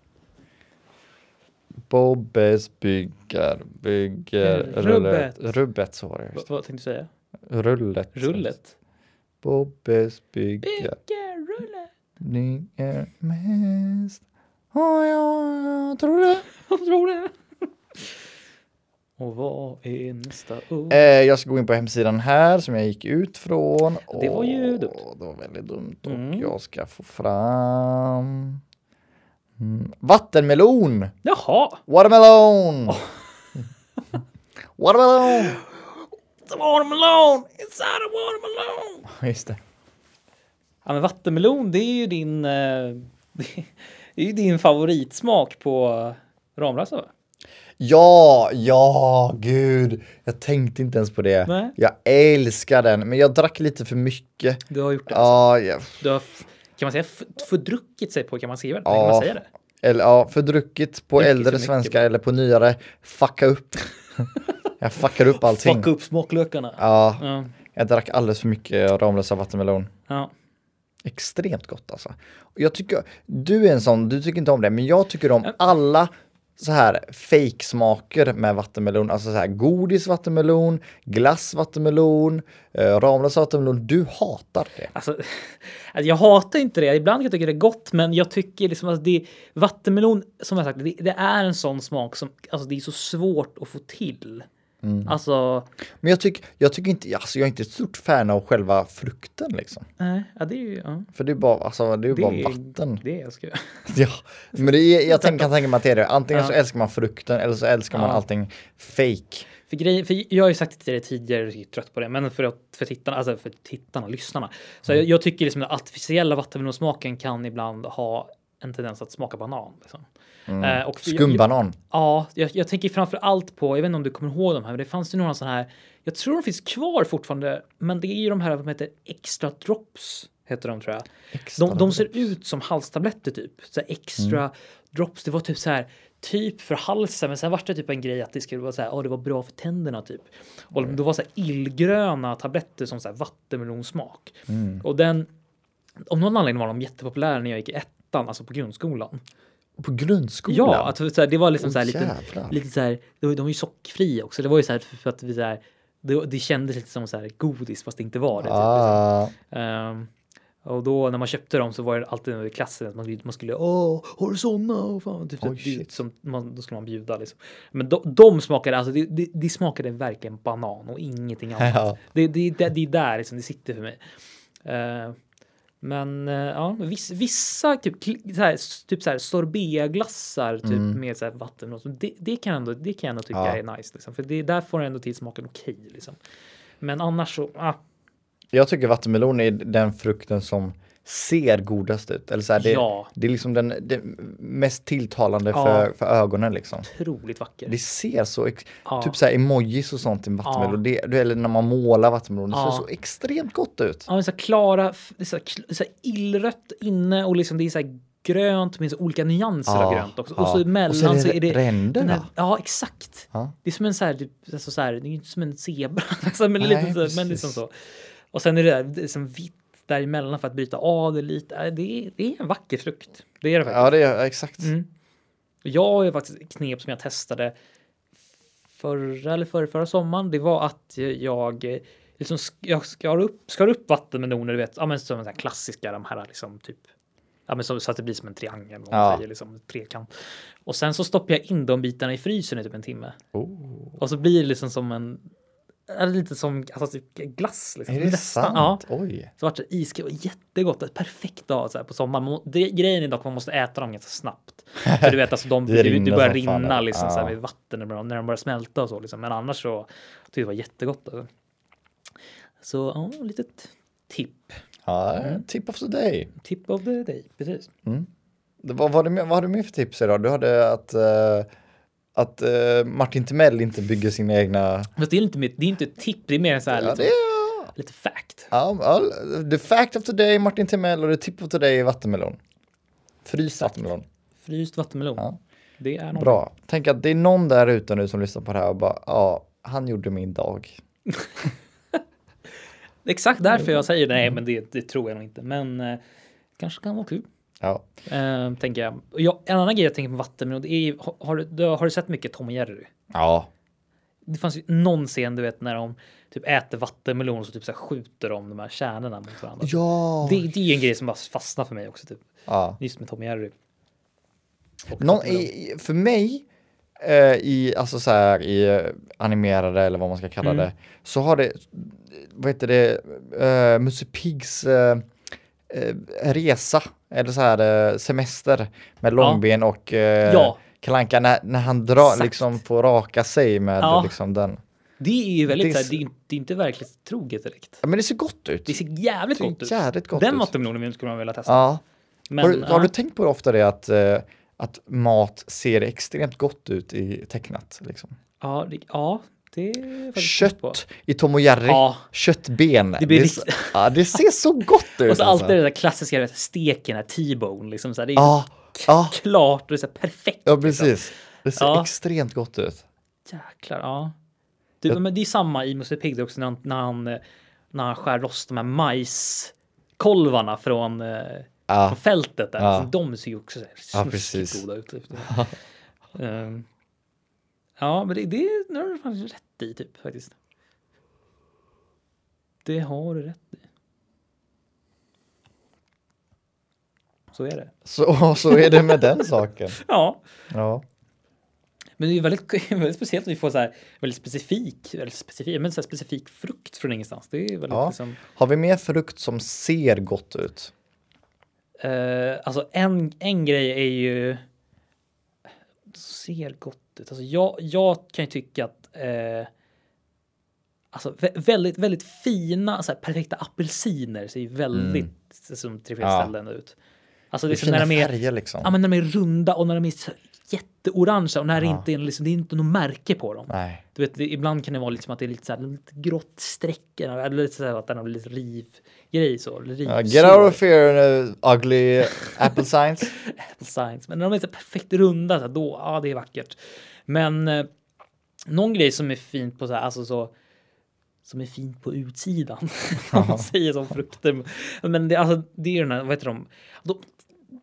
B: Bobbes bygger, bygger,
A: Eh,
B: rullet.
A: rubbet.
B: Rubbet så var det
A: Vad,
B: just.
A: vad tänkte du säga?
B: Rullet.
A: Rullet?
B: Bobbes bygger.
A: Vilken rulle?
B: Ni är mest. Oh, ja, jag tror det.
A: Vad tror du? Och vad är nästa ord?
B: Eh, jag ska gå in på hemsidan här som jag gick ut från.
A: Det var ju
B: Och
A: dumt.
B: Det var väldigt dumt och
A: Mm.
B: jag ska få fram mm. vattenmelon,
A: Jaha!
B: watermelon. watermelon.
A: It's a watermelon! Inside a watermelon!
B: Just det.
A: Ja, men vattenmelon, det är ju din... eh, Det är ju din favoritsmak på Ramlösa va?
B: Ja, ja, gud. Jag tänkte inte ens på det.
A: Nej.
B: Jag älskar den, men jag drack lite för mycket.
A: Du har gjort det.
B: Ja, jag,
A: Du har f- Kan man säga f- fördruckit sig på? Kan man säga det?
B: Ja.
A: Kan man säga det?
B: Eller ja, fördruckit på
A: Druckit för
B: äldre
A: mycket.
B: svenska eller på nyare. Fucka upp. jag fuckar upp allting.
A: Fucka upp smaklökarna.
B: Ja,
A: Ja.
B: jag drack alldeles för mycket Ramlösa vattenmelon.
A: Ja.
B: Extremt gott alltså. Och Jag tycker, du är en sån, du tycker inte om det, men jag tycker om alla så här fejksmaker med vattenmelon. Alltså så här godis vattenmelon, glass vattenmelon, eh, Ramlösa vattenmelon. Du hatar det.
A: Alltså, alltså, jag hatar inte det. Ibland kan jag tycka det är gott, men jag tycker liksom att det vattenmelon, som jag sagt, det, det är en sån smak som alltså, det är så svårt att få till.
B: Mm.
A: Alltså,
B: Men jag tycker, jag tycker inte, alltså jag är inte ett stort fan av själva frukten liksom.
A: nej, ja, det är ju ja,
B: För det är bara, alltså, det är ju
A: Det
B: bara
A: är-
B: vatten.
A: det är jag ska göra.
B: Ja, men det är, jag tänk, kan tänka mig att det är det. Antingen
A: Ja.
B: så älskar man frukten eller så älskar man
A: Ja.
B: allting fake.
A: För, grejen, för jag har ju sagt till dig tidigare, jag är trött på det, men för, att- för tittarna, alltså för tittarna, lyssnarna.
B: Mm.
A: Så jag, jag tycker liksom den artificiella vattenmelonsmaken kan ibland ha en tendens att smaka banan. Liksom. Eh, och för-
B: Mm. Skumbanan.
A: Ja, jag, jag tänker framför allt på, jag vet inte om du kommer ihåg de här, men det fanns ju några sådana här, jag tror de finns kvar fortfarande, men det är ju de här som heter extra drops, heter de tror jag.
B: Extra
A: De, de ser
B: drops. Mm.
A: ut som halstabletter typ, så här extra drops, det var typ så här typ för halsen, men sen var det typ en grej att det skulle vara så här, ja det var bra för tänderna typ. Och
B: Mm.
A: då var så här illgröna tabletter som så här vattenmelonsmak.
B: Mm.
A: Och den, om någon anledning var de jättepopulära när jag gick i ettan, alltså på grundskolan.
B: På grundskolan?
A: Ja, att, så här, det var liksom
B: Åh,
A: så här lite,
B: jävlar.
A: lite så här, de var- de var ju sockerfria också. Det var ju så här för att vi så här, det, det kändes lite som så här godis fast det inte var det. typ, liksom.
B: ah,
A: Ehm, och då när man köpte dem så var det alltid i klassen att man, skulle- man skulle åh, har du såna? Och fan, typ, så
B: Oj,
A: här,
B: shit.
A: bjud, som man, då skulle man bjuda liksom. Men de, de smakade, alltså det det det smakade verkligen banan och ingenting annat.
B: Ja.
A: Det, det, det, det är där liksom, det sitter för mig. Eh, men eh, ja, viss, vissa typ, kli- så här, s- typ så här sorbetglassar typ med så här vatten och så, det, det, kan jag ändå, det kan jag ändå tycka
B: Mm. Ja.
A: är nice. Liksom, för det, där får den ändå till smaken okej. liksom. Men annars så, ah,
B: jag tycker vattenmelon är den frukten som ser godast ut. Eller så här, det,
A: Ja.
B: det är liksom den det mest tilltalande
A: Ja.
B: för, för ögonen liksom.
A: otroligt vacker.
B: Det ser så, ex-
A: Ja.
B: typ så här emojis och sånt i vattenmelon. Det, eller när man målar vattenmelon, det
A: Ja.
B: ser så extremt gott ut.
A: Ja, men så här klara, f- det är så här, kl- så här illrött inne och liksom det är så här grönt med så olika nyanser av
B: Ja,
A: grönt också.
B: ja.
A: Och så emellan
B: Och så är det
A: så är det
B: ränderna.
A: den här- Ja, exakt.
B: Ja.
A: Det är som en så här, typ, alltså så här, det är ju inte som en zebra, alltså, men,
B: Nej,
A: lite, så, här- men
B: precis.
A: liksom så. Och sen är det där det är som vitt däremellan för att bryta av det lite. Ja, Det är, det är en vacker frukt. Det är det faktiskt.
B: Ja, det är exakt.
A: Mm. Jag har ju faktiskt ett knep som jag testade förra eller förra, förra sommaren. Det var att jag eh, liksom sk- jag skar upp, skar upp vattenmeloner, du vet, ja, men som de här klassiska, de här liksom typ. Ja, men så, så att det blir som en triangel, vad man
B: Ja.
A: säger, liksom, trekant. Och sen så stoppar jag in de bitarna i frysen i typ en timme.
B: Oh.
A: Och så blir det liksom som en, ja, lite som alltså, typ glass. Liksom.
B: Är det
A: Nästan,
B: sant?
A: Ja.
B: Oj.
A: Så vart det iskall och jättegott. Ett perfekt dag så här på sommaren. Må- Det, grejen är dock att man måste äta dem ganska snabbt. För du vet, alltså de,
B: Det
A: det,
B: rinner
A: det börjar
B: som fan,
A: rinna
B: eller?
A: liksom, så här,
B: Ja.
A: med vatten när de, när de börjar smälta och så. Liksom. Men annars så tyckte jag det var jättegott. Alltså. Så ja, litet tipp.
B: Ja,
A: Mm.
B: tip of the day.
A: Tip of the day. Precis.
B: Det var, vad, har du med, vad har du med för tips idag? Du hade att, eh, att eh, Martin Timell inte bygger sina egna...
A: Fast det är inte, mitt, det är inte ett tipp, det är mer en så här
B: Ja,
A: lite,
B: det är,
A: lite fact.
B: ja, ja, the fact of the day, Martin Timell och the tip of the day är vattenmelon. Fryst vattenmelon.
A: Fryst vattenmelon.
B: Ja.
A: Det är något.
B: Bra. Tänk att det är någon där ute nu som lyssnar på det här och bara ja, han gjorde min dag.
A: Exakt därför
B: Mm.
A: jag säger nej, men det, det tror jag nog inte. Men eh, kanske kan vara kul.
B: Ja.
A: Eh, tänker jag. Och jag. En annan grej jag tänker på vattenmelon, det är ju, har, har, du, har du sett mycket Tom och Jerry?
B: Ja.
A: Det fanns ju någon scen du vet när de typ äter vattenmelon och så typ så här skjuter de de här kärnorna mot varandra.
B: Ja.
A: Det, det är en grej som bara fastnar för mig också, typ.
B: ja.
A: just med Tom och Jerry. Och
B: Någon,
A: vattenmelon.
B: i, i- för mig, eh, i, alltså så här, i eh, animerade eller vad man ska kalla
A: Mm.
B: det, så har det, vad heter det, eh, Musse Piggs eh, eh, resa, eller så här eh, semester med Långben och eh,
A: Ja.
B: Kalle Anka när, när han drar,
A: Exakt.
B: liksom får raka sig med
A: Ja.
B: liksom den.
A: det är ju väldigt,
B: det
A: det
B: är
A: är, så
B: så-
A: här, det är, inte- det är inte verkligt troget direkt.
B: Ja, men det ser gott ut.
A: Det ser jävligt
B: Det ser
A: gott ut.
B: jävligt gott
A: Den
B: ut.
A: vattenmelonen skulle man vilja testa.
B: ja.
A: Men,
B: har, du, har
A: ja.
B: du tänkt på det ofta det att, eh, att mat ser extremt gott ut i tecknat? Liksom?
A: Ja, det, ja, Det är faktiskt på.
B: Kött i Tom och Jerry.
A: Ja.
B: Köttben.
A: Det blir
B: är
A: rikt-
B: så- ja, det ser så gott ut.
A: Och så
B: alltså.
A: alltid det där klassiska du vet, steken, här, T-bone. Liksom, så här, det är
B: Ja, ja,
A: klart och det är så här, perfekt.
B: ja, precis. Det ser
A: Ja.
B: extremt gott ut.
A: Jäklar, ja. Du,
B: Jag-
A: men det är samma i Musse Pigg också när han, när, han, eh, när han skär loss de här majskolvarna från, eh,
B: Ja,
A: från fältet. Där.
B: Ja.
A: Alltså, de ser ju också så här
B: Ja,
A: snuskigt
B: precis.
A: goda ut. Typ. Ehm, ja, men det, det det har du fan rätt i typ faktiskt. Det har du rätt i. Så är det.
B: så, så är det med den saken.
A: Ja.
B: Ja,
A: Men det är ju väldigt, väldigt speciellt att vi får så här väldigt specifik, väldigt specifik, men så här specifik frukt från ingenstans. Det är ju väldigt
B: Ja.
A: liksom,
B: har vi mer frukt som ser gott ut?
A: eh, alltså en, en grej är ju ser gott ut. Alltså jag, jag kan ju tycka att eh, alltså vä- väldigt, väldigt fina, så här, perfekta apelsiner ser ju väldigt
B: Mm.
A: liksom som tillfredsställande ut. Alltså
B: Det är
A: liksom
B: fina
A: när de är
B: färger liksom.
A: Ja, men när de är runda och när de är så jätteorangea och när det
B: Ja.
A: inte är liksom, det är inte något märke på dem.
B: Nej.
A: Du vet, det, ibland kan det vara liksom att det är lite, så här, lite grått streck eller eller lite så här, att den har blivit rivgrej så. eller
B: Ja,
A: Rivsår,
B: get out of here uh, ugly apple signs.
A: apple signs. Men när de är så här perfekt runda så här, då, ja det är vackert. Men eh, någon grej som är fint på så här, alltså så som är fint på utsidan. om man säger som frukter. Men det, alltså, det är ju den här, vad heter de? de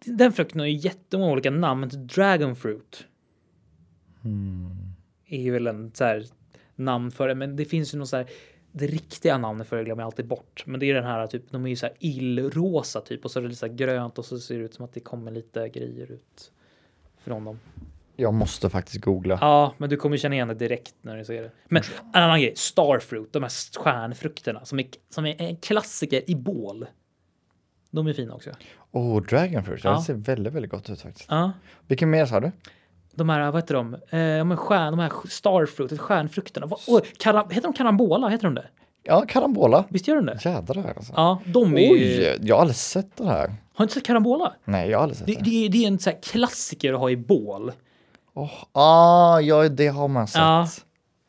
A: den frukten har ju jättemånga olika namn. Dragon fruit.
B: Hmm.
A: är ju väl en så här namn för det, men det finns ju någon så här det riktiga namnet för det glömmer jag alltid bort, men det är den här typ. De är ju så här illrosa typ och så är det lite så här grönt och så ser det ut som att det kommer lite grejer ut från dem.
B: Jag måste faktiskt googla.
A: Ja, men du kommer känna igen det direkt när du ser det. Men en annan grej, starfruit, de här stjärnfrukterna som är som är en klassiker i bål. De är fina också.
B: Oh, dragon fruit. Ja.
A: Ja.
B: Det ser väldigt, väldigt gott ut faktiskt.
A: Ja,
B: Vilken mer sa du?
A: de här, vad heter de? Eh, de här, stjärn, de här starfruit, stjärnfrukterna. Vad- Oj, karam, heter de karambola? Heter de det?
B: Ja, karambola.
A: Visst gör de det?
B: Jädrar alltså.
A: Ja, de är ju...
B: Oj, jag har aldrig sett det här.
A: Har du inte sett Carambola?
B: Nej, jag har aldrig sett
A: Det,
B: det.
A: det, är- det är en så här klassiker att ha i bål.
B: Åh, ah, ja, det har man sett.
A: Ja.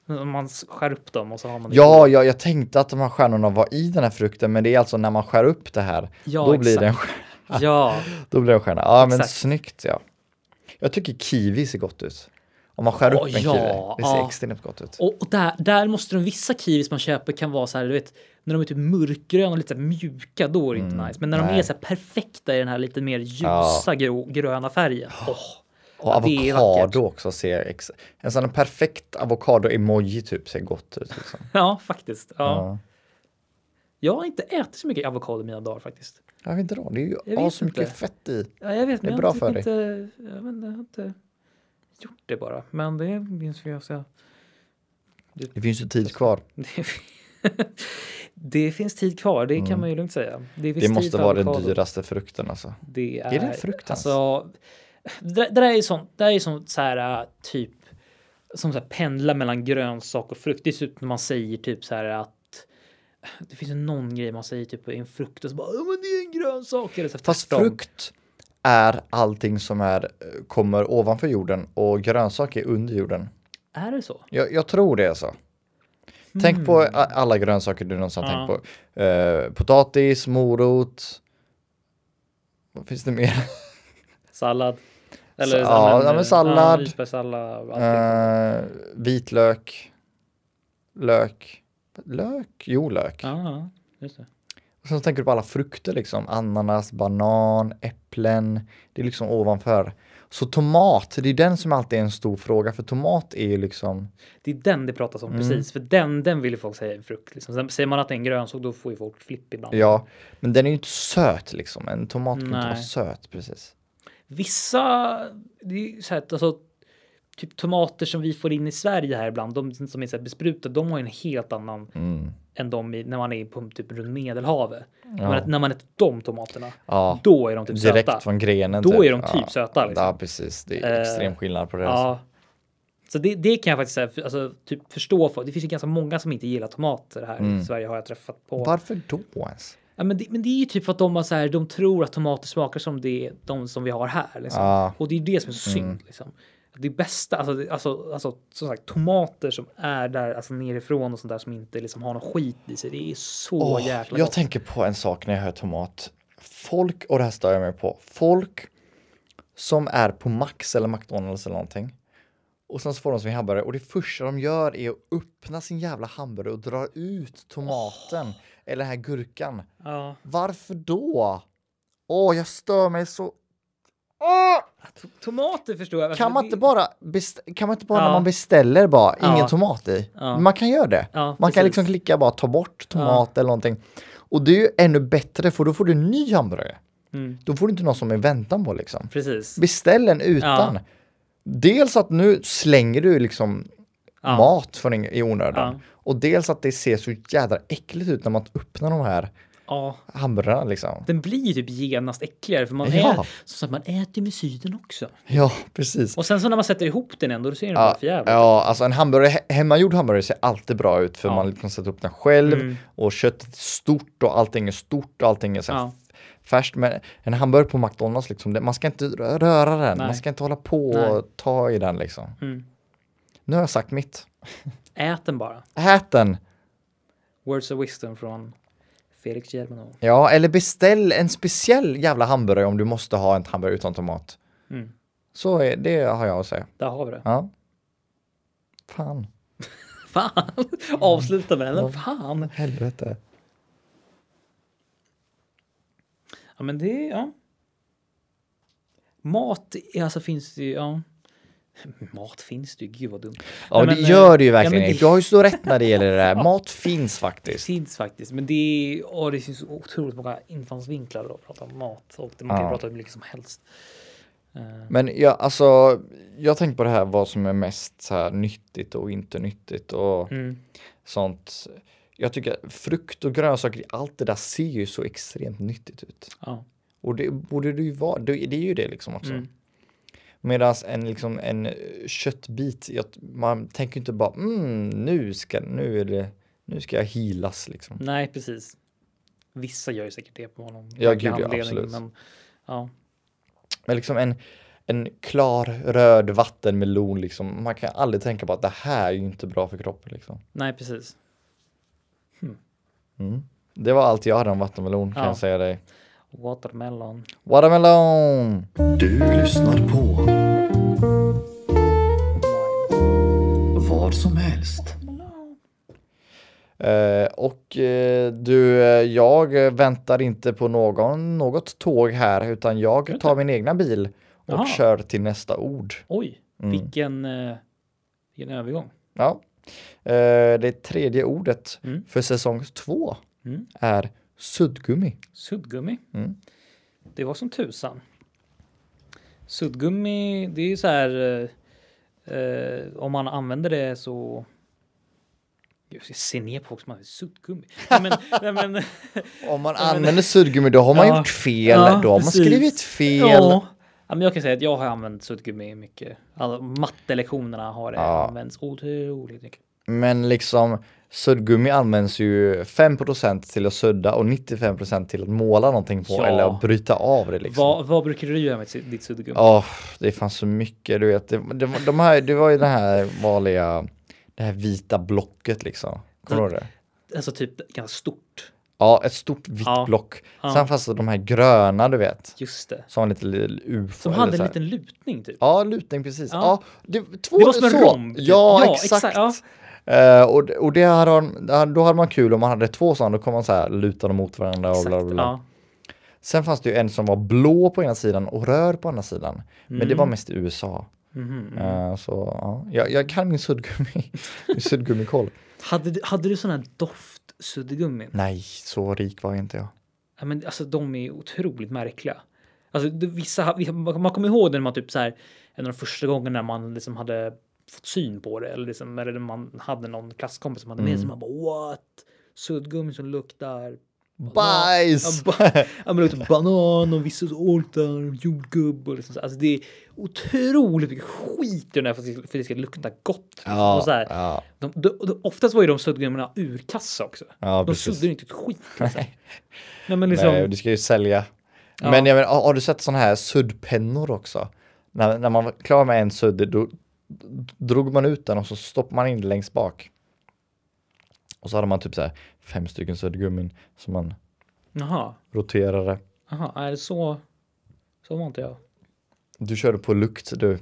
B: Ja.
A: Man skär upp dem och så har man det i
B: Ja,
A: bål.
B: ja, jag tänkte att de här stjärnorna var i den här frukten, men det är alltså när man skär upp det här.
A: Ja,
B: då, blir det en,
A: exakt.
B: stjär-
A: ja.
B: då blir det en stjärna. Ja, men
A: Exakt.
B: snyggt ja. Jag tycker kiwi ser gott ut. Om man skär
A: Åh,
B: upp en
A: ja,
B: kiwi. Det ser
A: ja.
B: extremt gott ut.
A: Och, och där, där måste de vissa kiwis man köper kan vara så här, du vet, när de är typ mörkgröna och lite så här mjuka, då är det inte nice. Men när de
B: Mm, nej.
A: är så här perfekta i den här lite mer
B: Ja.
A: ljusa grå, gröna färgen. Åh,
B: Och
A: ja, det är
B: avokado
A: vackert.
B: också ser ex- En sån här perfekt avokado-emoji typ ser gott ut. Liksom.
A: Ja, faktiskt. Ja.
B: Ja.
A: Jag har inte ätit så mycket avokado i mina dagar faktiskt.
B: Jag vet inte då, det är ju
A: vet
B: as så mycket
A: inte.
B: fett i.
A: Ja, jag vet,
B: Det är
A: men
B: bra
A: jag har
B: för
A: typ inte, jag, vet, inte, jag har inte gjort det bara. Men det minns jag. Så jag
B: Det finns ju tid kvar.
A: Det, det finns tid kvar, det kan man ju lugnt säga. Det, finns
B: Mm. Det
A: tid
B: måste
A: för
B: vara
A: avokado.
B: den dyraste frukten alltså.
A: Det är,
B: det frukt ens?
A: Alltså, det, där- det där är ju sånt, det där är ju sånt så här äh, typ som så här pendlar mellan grönsak och frukt. Det är typ när man säger typ så här att äh, det finns ju någon grej man säger typ i en frukt och så bara "Ja, men det är en grönsak. Eller så här
B: Fast
A: tvärtom.
B: frukt är allting som är, eh, kommer ovanför jorden och grönsaker är under jorden.
A: Är det så?
B: Jag, jag tror det är så. Tänk på a- alla grönsaker du någonsin har
A: Ja.
B: tänkt på. Eh, potatis, morot. Vad finns det mer?
A: Sallad?
B: Sa- ja, ja, men sallad.
A: äh, Ja, sallad
B: Eh, vitlök. Lök. Lök? Jo, lök.
A: ja, ja, just det.
B: Och sen så tänker du på alla frukter liksom. Ananas, banan, äpplen. Det är liksom ovanför. Så tomat, det är den som alltid är en stor fråga. För tomat är ju liksom...
A: Det är den det pratas
B: Mm.
A: om precis, för den, den vill ju folk säga är en frukt. Liksom. Sen säger man att det är en grönsak, då får ju folk flipp ibland.
B: Ja, men den är ju inte söt liksom. En tomat kan inte vara
A: Nej.
B: söt precis.
A: Vissa, det är ju så här, att, alltså, typ tomater som vi får in i Sverige här ibland, de som är så här besprutade, de har ju en helt annan
B: Mm.
A: än de i, när man är på typ runt Medelhavet.
B: Ja.
A: Men att när man äter de tomaterna,
B: Ja,
A: då är de typ
B: direkt
A: söta.
B: från grenen.
A: Då är de typ
B: ja.
A: söta, liksom.
B: Ja, precis. Det är
A: Eh,
B: extrem skillnad på det. alltså.
A: Ja. Så det, det kan jag faktiskt säga, för- alltså, typ förstå. För, det finns ju ganska många som inte gillar tomater här
B: Mm.
A: i Sverige har jag träffat på.
B: Varför då ens?
A: Ja, men, det, men det är ju typ för att de, har så här, de tror att tomater smakar som det, de som vi har här. Liksom.
B: Ja. Mm.
A: Och det är ju det som är så synd. Liksom. det bästa, alltså, det- alltså, alltså som sagt tomater som är där, alltså nerifrån och sånt där som inte liksom har någon skit i sig. Det är så
B: Åh,
A: jäkla
B: jag
A: gott.
B: tänker på en sak när jag hör tomat. Folk, och det här stör jag mig på, folk som är på Max eller McDonalds eller någonting och sen så får de sin hamburgare och det första de gör är att öppna sin jävla hamburgare och dra ut tomaten eller den här gurkan.
A: Ja.
B: Varför då? Åh, jag stör mig så.
A: To- Tomater förstår jag.
B: Kan man
A: Alltså, det-
B: inte bara, best- kan man inte bara när
A: Ja.
B: man beställer bara,
A: Ja.
B: ingen tomat i?
A: Ja.
B: Man kan göra det.
A: Ja,
B: Man kan
A: precis.
B: liksom klicka bara ta bort tomat eller någonting. Och det är ju ännu bättre för då får du en ny hamburgare.
A: Mm.
B: Då får du inte någon som är i väntan på liksom.
A: Precis.
B: Beställ en utan. Dels att nu slänger du liksom
A: Ja.
B: mat för en, i onödan.
A: Ja.
B: Och dels att det ser så jädra äckligt ut när man öppnar de här
A: Ja,
B: hamburgarna liksom.
A: den blir ju typ genast äckligare för man,
B: Ja.
A: är, som sagt, man äter med syden också.
B: Ja, precis.
A: Och sen så när man sätter ihop den ändå, då ser den
B: Ja,
A: bara för jävla.
B: ja, alltså en hamburgare, he- hemmagjord hamburgare ser alltid bra ut för
A: Ja.
B: man kan sätta upp den själv
A: Mm.
B: och köttet är stort och allting är stort och allting är så här
A: Ja.
B: färskt. Men en hamburgare på McDonalds, liksom, det- man ska inte rö- röra den,
A: Nej.
B: man ska inte hålla på och ta i den liksom.
A: Mm.
B: Nu har jag sagt mitt.
A: Ät den bara.
B: Ät den!
A: Words of wisdom från Felix Germano.
B: Ja, eller beställ en speciell jävla hamburgare om du måste ha en hamburgare utan tomat.
A: Mm.
B: Så är, det har jag att säga.
A: Där har vi det.
B: Ja. Fan,
A: Fan! Avsluta med den. Fan!
B: helvete.
A: Ja, men det, ja. Mat, är- alltså finns det ju, ja. Mat finns det ju, gud vad dumt.
B: Ja,
A: Nej,
B: men,
A: men,
B: det gör det ju
A: eh, ja,
B: verkligen
A: men
B: Erik.
A: det-
B: Du har ju så rätt när det gäller det där. Mat finns
A: Det
B: faktiskt.
A: finns faktiskt, men det, är- åh, det finns så otroligt många infallsvinklar att prata om mat och det, man kan
B: Ja.
A: ju prata hur mycket som helst. Eh,
B: Men jag, alltså, jag tänker på det här vad som är mest så här, nyttigt och inte nyttigt och
A: Mm.
B: sånt. Jag tycker att frukt och grönsaker, allt det där ser ju så extremt nyttigt ut.
A: Ja.
B: Och det borde det ju vara. Det, det är ju det liksom också.
A: Mm.
B: Medan en, liksom, en eh, köttbit, jag, man tänker ju inte bara mm, nu ska, nu är det, nu ska jag healas liksom.
A: Nej, precis. Vissa gör ju säkert det på honom.
B: Ja, gud, ja, absolut.
A: Men, ja.
B: Men liksom en, en klar röd vattenmelon liksom. Man kan aldrig tänka på att det här är ju inte bra för kroppen liksom.
A: Nej, precis.
B: Mm. Det var allt jag hade om vattenmelon kan
A: Ja.
B: jag säga dig.
A: Watermelon.
B: Watermelon!
D: Du lyssnar på vad som helst.
B: Eh, och eh, du, eh, jag väntar inte på någon, något tåg här utan jag tar min egna bil och
A: Jaha.
B: kör till nästa ord.
A: Oj,
B: Mm.
A: vilken, eh, vilken övergång.
B: Ja. Eh, det tredje ordet
A: Mm.
B: för säsong två
A: Mm.
B: är suddgummi.
A: Suddgummi.
B: Mm.
A: Det var som tusan. Suddgummi, det är ju så här. eh, Eh, om man använder det så. Gud, jag ser ner på folk som använder suddgummi. Nej, men, nej, men,
B: Om man
A: Ja, men-
B: använder suddgummi då har man
A: Ja.
B: gjort fel,
A: Ja,
B: då har man
A: precis.
B: skrivit fel.
A: ja. ja, men jag kan säga att jag har använt suddgummi mycket. Alltså, mattelektionerna har det
B: Ja.
A: använts otroligt mycket.
B: Men liksom suddgummi används ju 5% till att sudda och 95% till att måla någonting på
A: Ja.
B: eller att bryta av det liksom.
A: Vad, vad brukar du göra med sitt- ditt suddgummi?
B: Ja, det fanns så mycket, du vet. Det, de, de här, det var ju det här vanliga, det här vita blocket liksom. Kommer du ihåg det?
A: Alltså typ ganska stort.
B: Ja, ett stort vitt
A: Ja.
B: block.
A: Ja.
B: Sen fanns det de här gröna, du vet.
A: Just det.
B: Som var lite li- ufo.
A: Som
B: eller
A: hade
B: så
A: en
B: här.
A: liten lutning typ.
B: Ja, lutning precis. Ja.
A: Ja.
B: det, två,
A: Det var som en
B: så.
A: romb, typ.
B: Ja,
A: Ja,
B: exakt.
A: exakt, ja.
B: Eh, och och det hade man, då hade man kul om man hade två sådana, då kom man så här luta dem mot varandra och bla bla bla.
A: Ja.
B: Sen fanns det ju en som var blå på ena sidan och röd på andra sidan. Men det var
A: Mm.
B: mest i USA.
A: Mhm.
B: Eh, så ja, jag, jag kan min suddgummi, min suddgummikoll.
A: Hade, du- hade du sån här doftsuddgummin?
B: Nej, så rik var inte jag.
A: Ja, men alltså de är otroligt märkliga. Alltså det- vissa, vi- man man kommer ihåg det när man typ så här en av de första gångerna man liksom hade fått syn på det eller liksom eller när man hade någon klasskompis som hade
B: Mm.
A: med sig man bara what? Suddgummi som luktar
B: Bajs!
A: Ja, ba- ja, men det luktar banan och vissa oltar, jordgubb och liksom så. Alltså det är otroligt mycket skit i den här för att det ska- för att det ska lukta gott. och så här,
B: ja,
A: de, de, de, oftast var ju de suddgummina urkassa också.
B: ja,
A: de
B: precis.
A: suddade ju inte ett skit. Liksom. Nej men
B: Nej,
A: liksom.
B: du ska ju sälja.
A: Ja.
B: Men jag menar, har har du sett sådana här suddpennor också? När, när man var klar med en sudde, då drog man ut den och så stoppade man in den längst bak. Och så hade man typ så här fem stycken suddgummin som man
A: Jaha,
B: roterade.
A: Aha, är det så? Så var inte jag.
B: Du körde på lukt du.
A: Nej,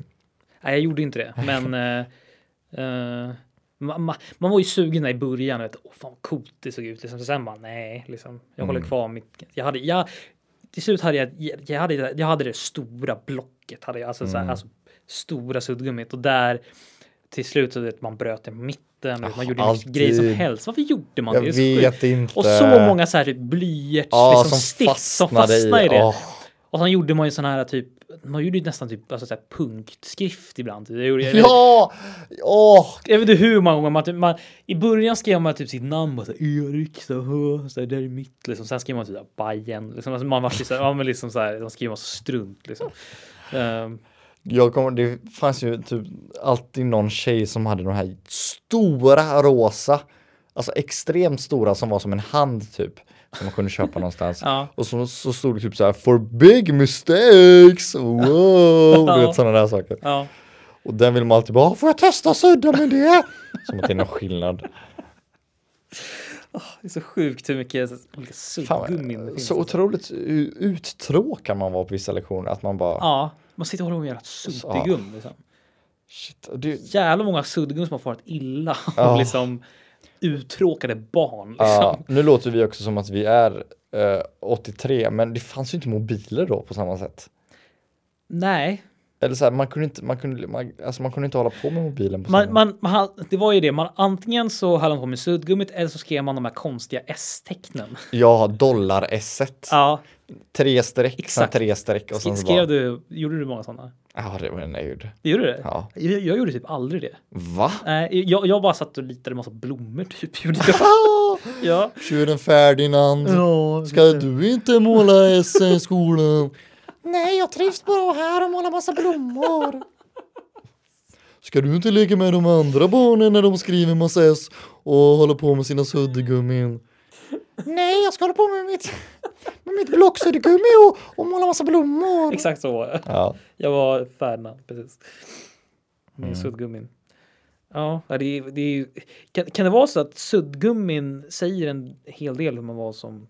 A: jag gjorde inte det, men eh, eh, ma, ma, man var ju sugen där i början. Vet, Åh, fan vad coolt det såg ut. Liksom. Så sen bara nej, liksom, jag håller
B: Mm.
A: kvar mitt. Jag hade, jag, till slut hade jag, jag hade, jag hade det stora blocket, hade jag, alltså, så
B: Mm.
A: här, alltså stora suddgummit och där till slut så vet man bröt den på mitten. vet,
B: Ah,
A: man gjorde alltid. grejer som
B: alltid.
A: helst. Varför gjorde man
B: Jag
A: det? Det är så sjukt.
B: vet inte.
A: Och så många så här typ blyerts,
B: Ja,
A: liksom stift som fastnade i det.
B: Åh.
A: Och sen gjorde man ju sån här typ, man gjorde ju nästan typ alltså så här punktskrift ibland. Jag gjorde, jag,
B: Ja! Åh!
A: jag vet inte hur många gånger man, typ, man I början skrev man typ sitt namn och så här, Erik, så här, så här, där är mitt liksom. Sen skrev man typ så här, Bajen, liksom. Alltså, man var ju så här, ja men liksom så här, man skrev man så strunt liksom. Ehm,
B: Jag kommer, det fanns ju typ alltid någon tjej som hade de här stora rosa, alltså extremt stora som var som en hand typ, som man kunde köpa någonstans.
A: ja.
B: Och så, så stod det typ så här for big mistakes, wow, du vet sådana där saker.
A: Ja,
B: Och den vill man alltid bara, "Ah, får jag testa sudda med det? Som att det är någon skillnad.
A: det är så sjukt hur mycket olika suddgummin det
B: Fan,
A: finns.
B: så otroligt u- uttråkad man var på vissa lektioner att man bara,
A: Ja, man sitter och håller på med ett suddgum. Liksom.
B: shit, det,
A: Jävla många suddgum som har farit illa av
B: Ja.
A: liksom uttråkade barn. Liksom.
B: Ja, nu låter vi också som att vi är eh, 83, men det fanns ju inte mobiler då på samma sätt.
A: Nej,
B: Eller så här, man kunde inte, man kunde, man, alltså man kunde inte hålla på med mobilen på
A: Man,
B: samma
A: man, man, ha- det var ju det, man, antingen så höll man på med suddgummit eller så skrev man de här konstiga S-tecknen.
B: Ja, dollar s
A: Ja,
B: Tre streck, sen
A: Exakt.
B: tre streck och sen så bara...
A: skrev du, gjorde du många sådana?
B: Ja, det var en nöjd.
A: Gjorde du det?
B: Ja.
A: Jag, jag gjorde typ aldrig det.
B: Va?
A: Nej, jag, jag bara satt och litade massa blommor typ. Gjorde jag.
B: Ah,
A: Ja.
B: Tjuren Ferdinand, ska du inte måla S i skolan? Nej, jag trivs bara här och målar massa blommor. Ska du inte leka med de andra barnen när de skriver massa S och håller på med sina suddgummin? Nej, jag ska hålla på med mitt, med mitt blocksuddgummi och, och måla massa blommor.
A: Exakt så var jag.
B: Ja.
A: Jag var Ferdinand, precis. Med
B: Mm.
A: suddgummin. Ja, ja, det, är- det är ju... Kan, kan det vara så att suddgummin säger en hel del hur man var som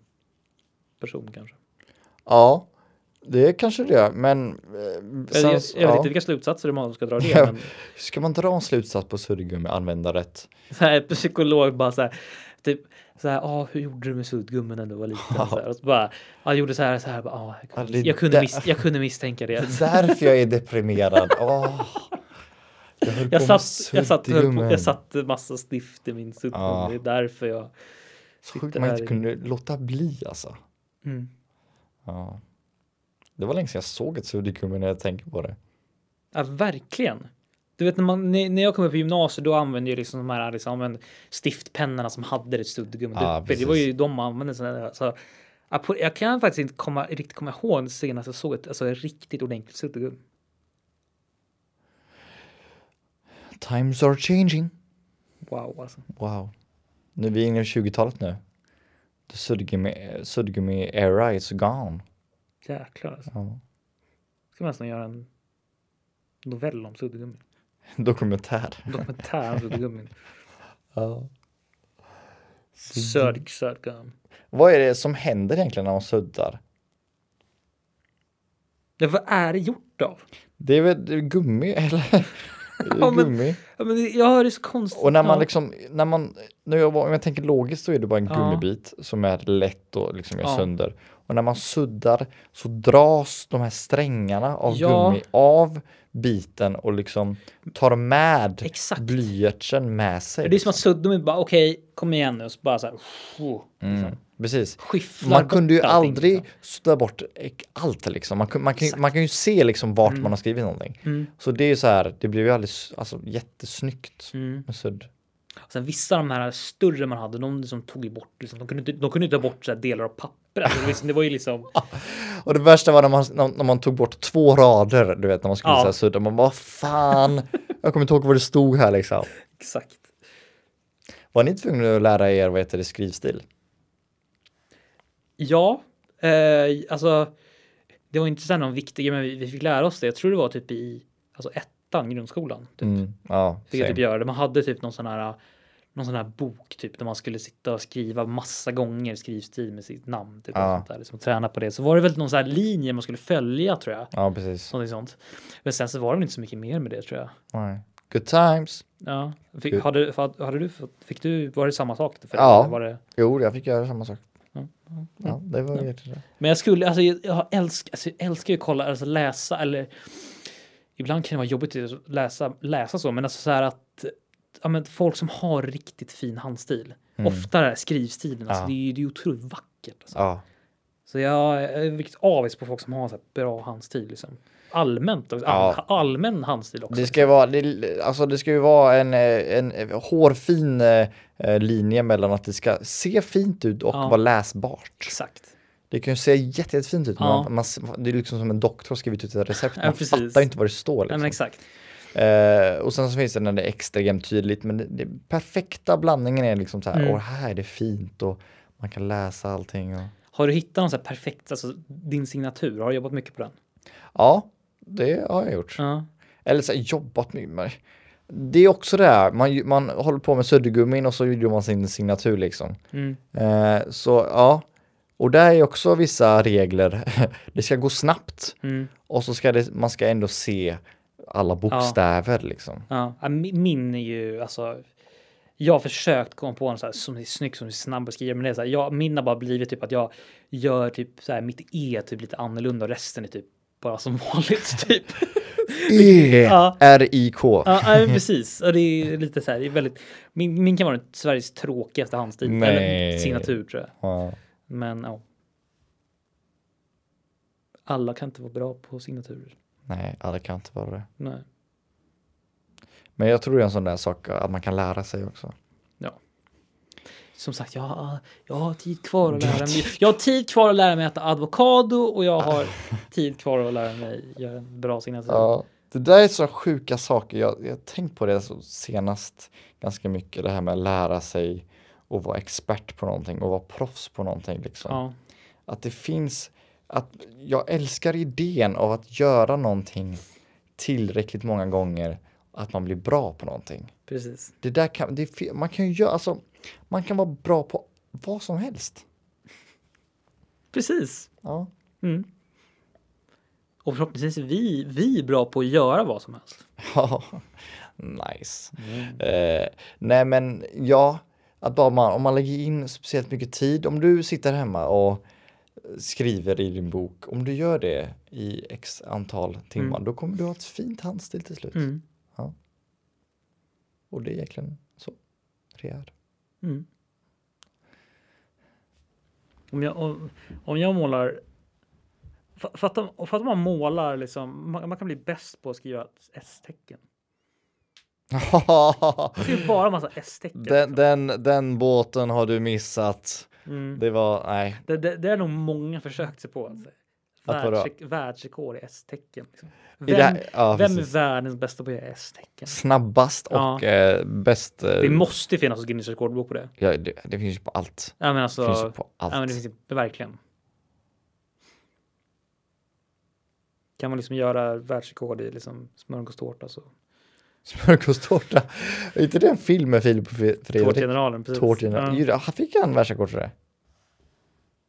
A: person kanske?
B: ja, det kanske det gör, men... eh,
A: Jag, jag, jag
B: sen-
A: vet
B: ja.
A: inte vilka slutsatser man ska dra av det.
B: Ja.
A: Men
B: Ska man dra en slutsats på suddgummi användarrätt?
A: så här, psykolog bara så här, typ så här, ah, hur gjorde du med suddgummin när du var liten? Så här, och så bara, ah, jag gjorde så här, så här, bara, ah, jag,
B: Ja,
A: kunde,
B: det
A: jag, kunde
B: där-
A: miss, jag kunde misstänka det.
B: Därför jag är deprimerad. Åh. Jag, höll
A: Jag
B: på med
A: satt, jag satt, höll på,
B: suddgummen.
A: jag satte massa stift i min suddgummi,
B: Ja.
A: det är därför jag
B: Så sjukt
A: sitter
B: man
A: här
B: inte
A: i-
B: kunde låta bli alltså.
A: mm.
B: Ja. Det var länge sedan jag såg ett suddgummi när jag tänker på det.
A: Ja, verkligen. Du vet när, man, när när jag kom upp i gymnasiet då använde jag liksom de här liksom, men, stiftpennorna som hade det suddgummi
B: Ja,
A: uppe. Det var ju de man använde. Sådana, så, ja, på- jag kan faktiskt inte komma, riktigt komma ihåg senast jag såg ett alltså, ett riktigt ordentligt suddgummi.
B: Times are changing.
A: Wow alltså.
B: Wow. Nu, vi är inne i 20-talet nu. The suddgummi, suddgummi era is gone.
A: Jäklar alltså.
B: Ja.
A: Ska man nästan göra en novell om suddgummi.
B: Dokumentär.
A: Dokumentär om suddgummin.
B: Ja.
A: Sörk, sörkgum.
B: Vad är det som händer egentligen när man suddar?
A: Ja, vad är det gjort av?
B: Det är väl det är gummi eller? Det
A: Ja,
B: är
A: men-
B: gummi.
A: Ja, men det- jag hör det så konstigt.
B: Och när man
A: Ja.
B: liksom, när man, när jag, om jag tänker logiskt så är det bara en
A: Ja.
B: gummibit som är lätt att liksom göra
A: Ja.
B: sönder. Och när man suddar så dras de här strängarna av
A: Ja.
B: gummi av biten och liksom tar med
A: Exakt.
B: blyertsen med sig.
A: Det är som att suddgummi bara okej, kom igen nu. Och så bara så här. phew, liksom.
B: mm. Precis.
A: skyfflar
B: Man
A: bort
B: kunde ju
A: allting,
B: aldrig
A: liksom.
B: sudda bort ek- allt liksom. Man, kun- man, kan, ju- man kan ju se liksom vart man har skrivit någonting.
A: Mm.
B: Så det är ju så här, det blev ju alldeles alltså, jättesnyggt
A: Mm.
B: med sudd.
A: Sen Alltså, vissa av de här större man hade, de liksom tog ju bort, liksom, de, kunde inte, de kunde inte ta bort så här delar av papper. Alltså, det, var liksom, det var ju liksom,
B: Och det värsta var när man, när, när man tog bort två rader, du vet när man skulle
A: Ja.
B: så här sudda, man bara fan, jag kommer inte ihåg vad det stod här liksom.
A: exakt.
B: Var ni tvungna att lära er vad heter det, skrivstil?
A: Ja, eh, alltså det var inte så här någon viktig grej, men vi, vi fick lära oss det. Jag tror det var typ i alltså ettan, grundskolan. Typ.
B: Mm. Ja,
A: Fick jag
B: same.
A: typ göra det. Man hade typ någon sån här någon sån här bok typ där man skulle sitta och skriva massa gånger skrivstil med sitt namn. Typ,
B: Ja.
A: och sånt där, liksom, och träna på det. Så var det väl någon sån här linje man skulle följa tror jag.
B: ja precis.
A: Någonting sånt. Men sen så var det väl inte så mycket mer med det tror jag.
B: Nej. Good times.
A: Ja.
B: Hur-
A: Fick, hade, fa- hade du, fått- fick du, var det samma sak? För dig,
B: Ja.
A: eller Var det,
B: Jo, jag fick göra samma sak.
A: Mm.
B: Ja, det var jättebra.
A: men jag skulle, alltså jag, jag, älsk, alltså, jag älskar ju att kolla, alltså läsa eller ibland kan det vara jobbigt att läsa, läsa så, men alltså så här att ja, men folk som har riktigt fin handstil,
B: Mm.
A: ofta den här skrivstilen, alltså,
B: Ja.
A: det, är, ju- det är ju otroligt vackert. Alltså.
B: Ja.
A: Så jag, jag är riktigt avis på folk som har så här bra handstil. Liksom. Allmänt, också, all,
B: Ja.
A: allmän handstil också.
B: Det ska ju vara, det, alltså det ska ju vara en, eh, en eh, hårfin eh, eh, linje mellan att det ska se fint ut och
A: Ja.
B: vara läsbart.
A: Exakt.
B: Det kan ju se jätte, jättefint ut, men
A: Ja.
B: man, man, s- det är liksom som en doktor har skrivit ut ett recept,
A: Ja,
B: man
A: precis.
B: fattar ju inte vad det står.
A: Nej,
B: Liksom.
A: men exakt.
B: Eh, och sen så finns det när det är extremt tydligt, men det, det perfekta blandningen är liksom så här,
A: Mm.
B: åh här är det fint och man kan läsa allting. Och...
A: Har du hittat någon så här perfekt, alltså din signatur? Har du jobbat mycket på den?
B: Ja, det har jag gjort.
A: Ja.
B: Eller så här, jobbat med mig. Det är också det här, man, ju- man håller på med suddgummin och så gjorde man sin signatur liksom.
A: Mm.
B: Eh, så ja, och där är också vissa regler. det ska gå snabbt
A: Mm.
B: och så ska det, man ska ändå se alla bokstäver liksom.
A: Ja. Ja, mi- Min är ju alltså. Jag har försökt komma på en så här som är snygg, som är snabb att skriva, men det är så här, jag, min har bara blivit typ att jag gör typ så här mitt E typ lite annorlunda och resten är typ bara som vanligt typ.
B: E,
A: Ja.
B: E-R-I-K.
A: Ja, ja, men precis. Och det är lite så här, det är väldigt, min, min kan vara den Sveriges tråkigaste handstil. Eller
B: Nej.
A: signatur tror jag.
B: Ja.
A: Men ja. Alla kan inte vara bra på signaturer.
B: Nej, ja, det kan inte vara det.
A: Nej.
B: Men jag tror det är en sån där sak att man kan lära sig också.
A: Som sagt, jag har, jag har tid kvar att lära mig. Jag har tid kvar att lära mig att äta avokado och jag har tid kvar att lära mig göra en bra signatur.
B: Ja, det där är så sjuka saker. Jag jag har tänkt på det så senast ganska mycket. Det här med att lära sig och vara expert på någonting och vara proffs på någonting. Liksom.
A: Ja.
B: Att det finns, att jag älskar idén av att göra någonting tillräckligt många gånger att man blir bra på någonting.
A: precis.
B: Det där kan, det, är fe- man kan ju göra, alltså, man kan vara bra på vad som helst.
A: Precis.
B: Ja.
A: Mm. Och förhoppningsvis är vi, vi bra på att göra vad som helst.
B: Ja, nice. Eh, nej men ja, att bara man, om man lägger in speciellt mycket tid, om du sitter hemma och skriver i din bok, om du gör det i x antal timmar, då kommer du ha ett fint handstil till slut.
A: Mm.
B: Och det är egentligen så det är.
A: Mm. Om, jag, om, om jag målar... fa- Fatta om- fatta om man målar liksom... Man, man kan bli bäst på att skriva S-tecken. Det är bara en massa S-tecken. liksom.
B: den, den, den båten har du missat.
A: Mm.
B: Det var, nej,
A: Det, det, det är nog många försökt sig på. Alltså.
B: Att vadå?
A: Världsrek- Världsrekord i S-tecken. Liksom.
B: I
A: Vem,
B: det här- ja,
A: vem är
B: precis.
A: världens bästa på att göra S-tecken?
B: snabbast och
A: Ja.
B: eh, bäst. Eh,
A: Det måste ju finnas ett Guinness rekordbok på det.
B: ja, det, det finns ju på allt.
A: Ja, men
B: Det
A: alltså,
B: finns ju på allt.
A: Ja, men det finns ju, verkligen. Kan man liksom göra världsrekord i liksom smörgåstårta så.
B: Smörgåstårta. Är inte det en film med Filip och Fre- Fredrik?
A: Tårtgeneralen. precis.
B: Tårtgeneralen.
A: Ja.
B: Ja. Han fick han världsrekord för det?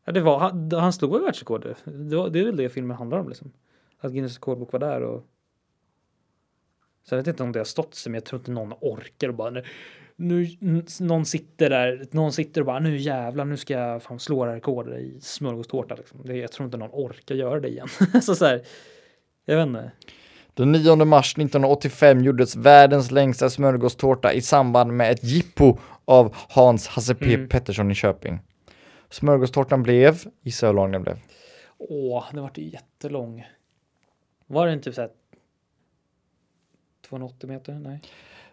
A: Ja, det var, han, han slog väl världsrekordet. Det, var- det är väl det filmen handlar om liksom. Att Guinness rekordbok var där och. Så jag vet inte om det har stått sig, men jag tror inte någon orkar och bara nu. nu n- någon sitter där, någon sitter och bara nu jävlar, nu ska jag fan slå det här rekordet i smörgåstårta. Liksom. Det, jag tror inte någon orkar göra det igen. så, så här, jag vet inte.
B: Den 9 mars 1985 gjordes världens längsta smörgåstårta i samband med ett jippo av Hans Hasse P
A: Mm.
B: Pettersson i Köping. Smörgåstårtan blev, gissa hur lång den blev.
A: Åh, den vart ju jättelång. Var den typ såhär 280 meter? Nej.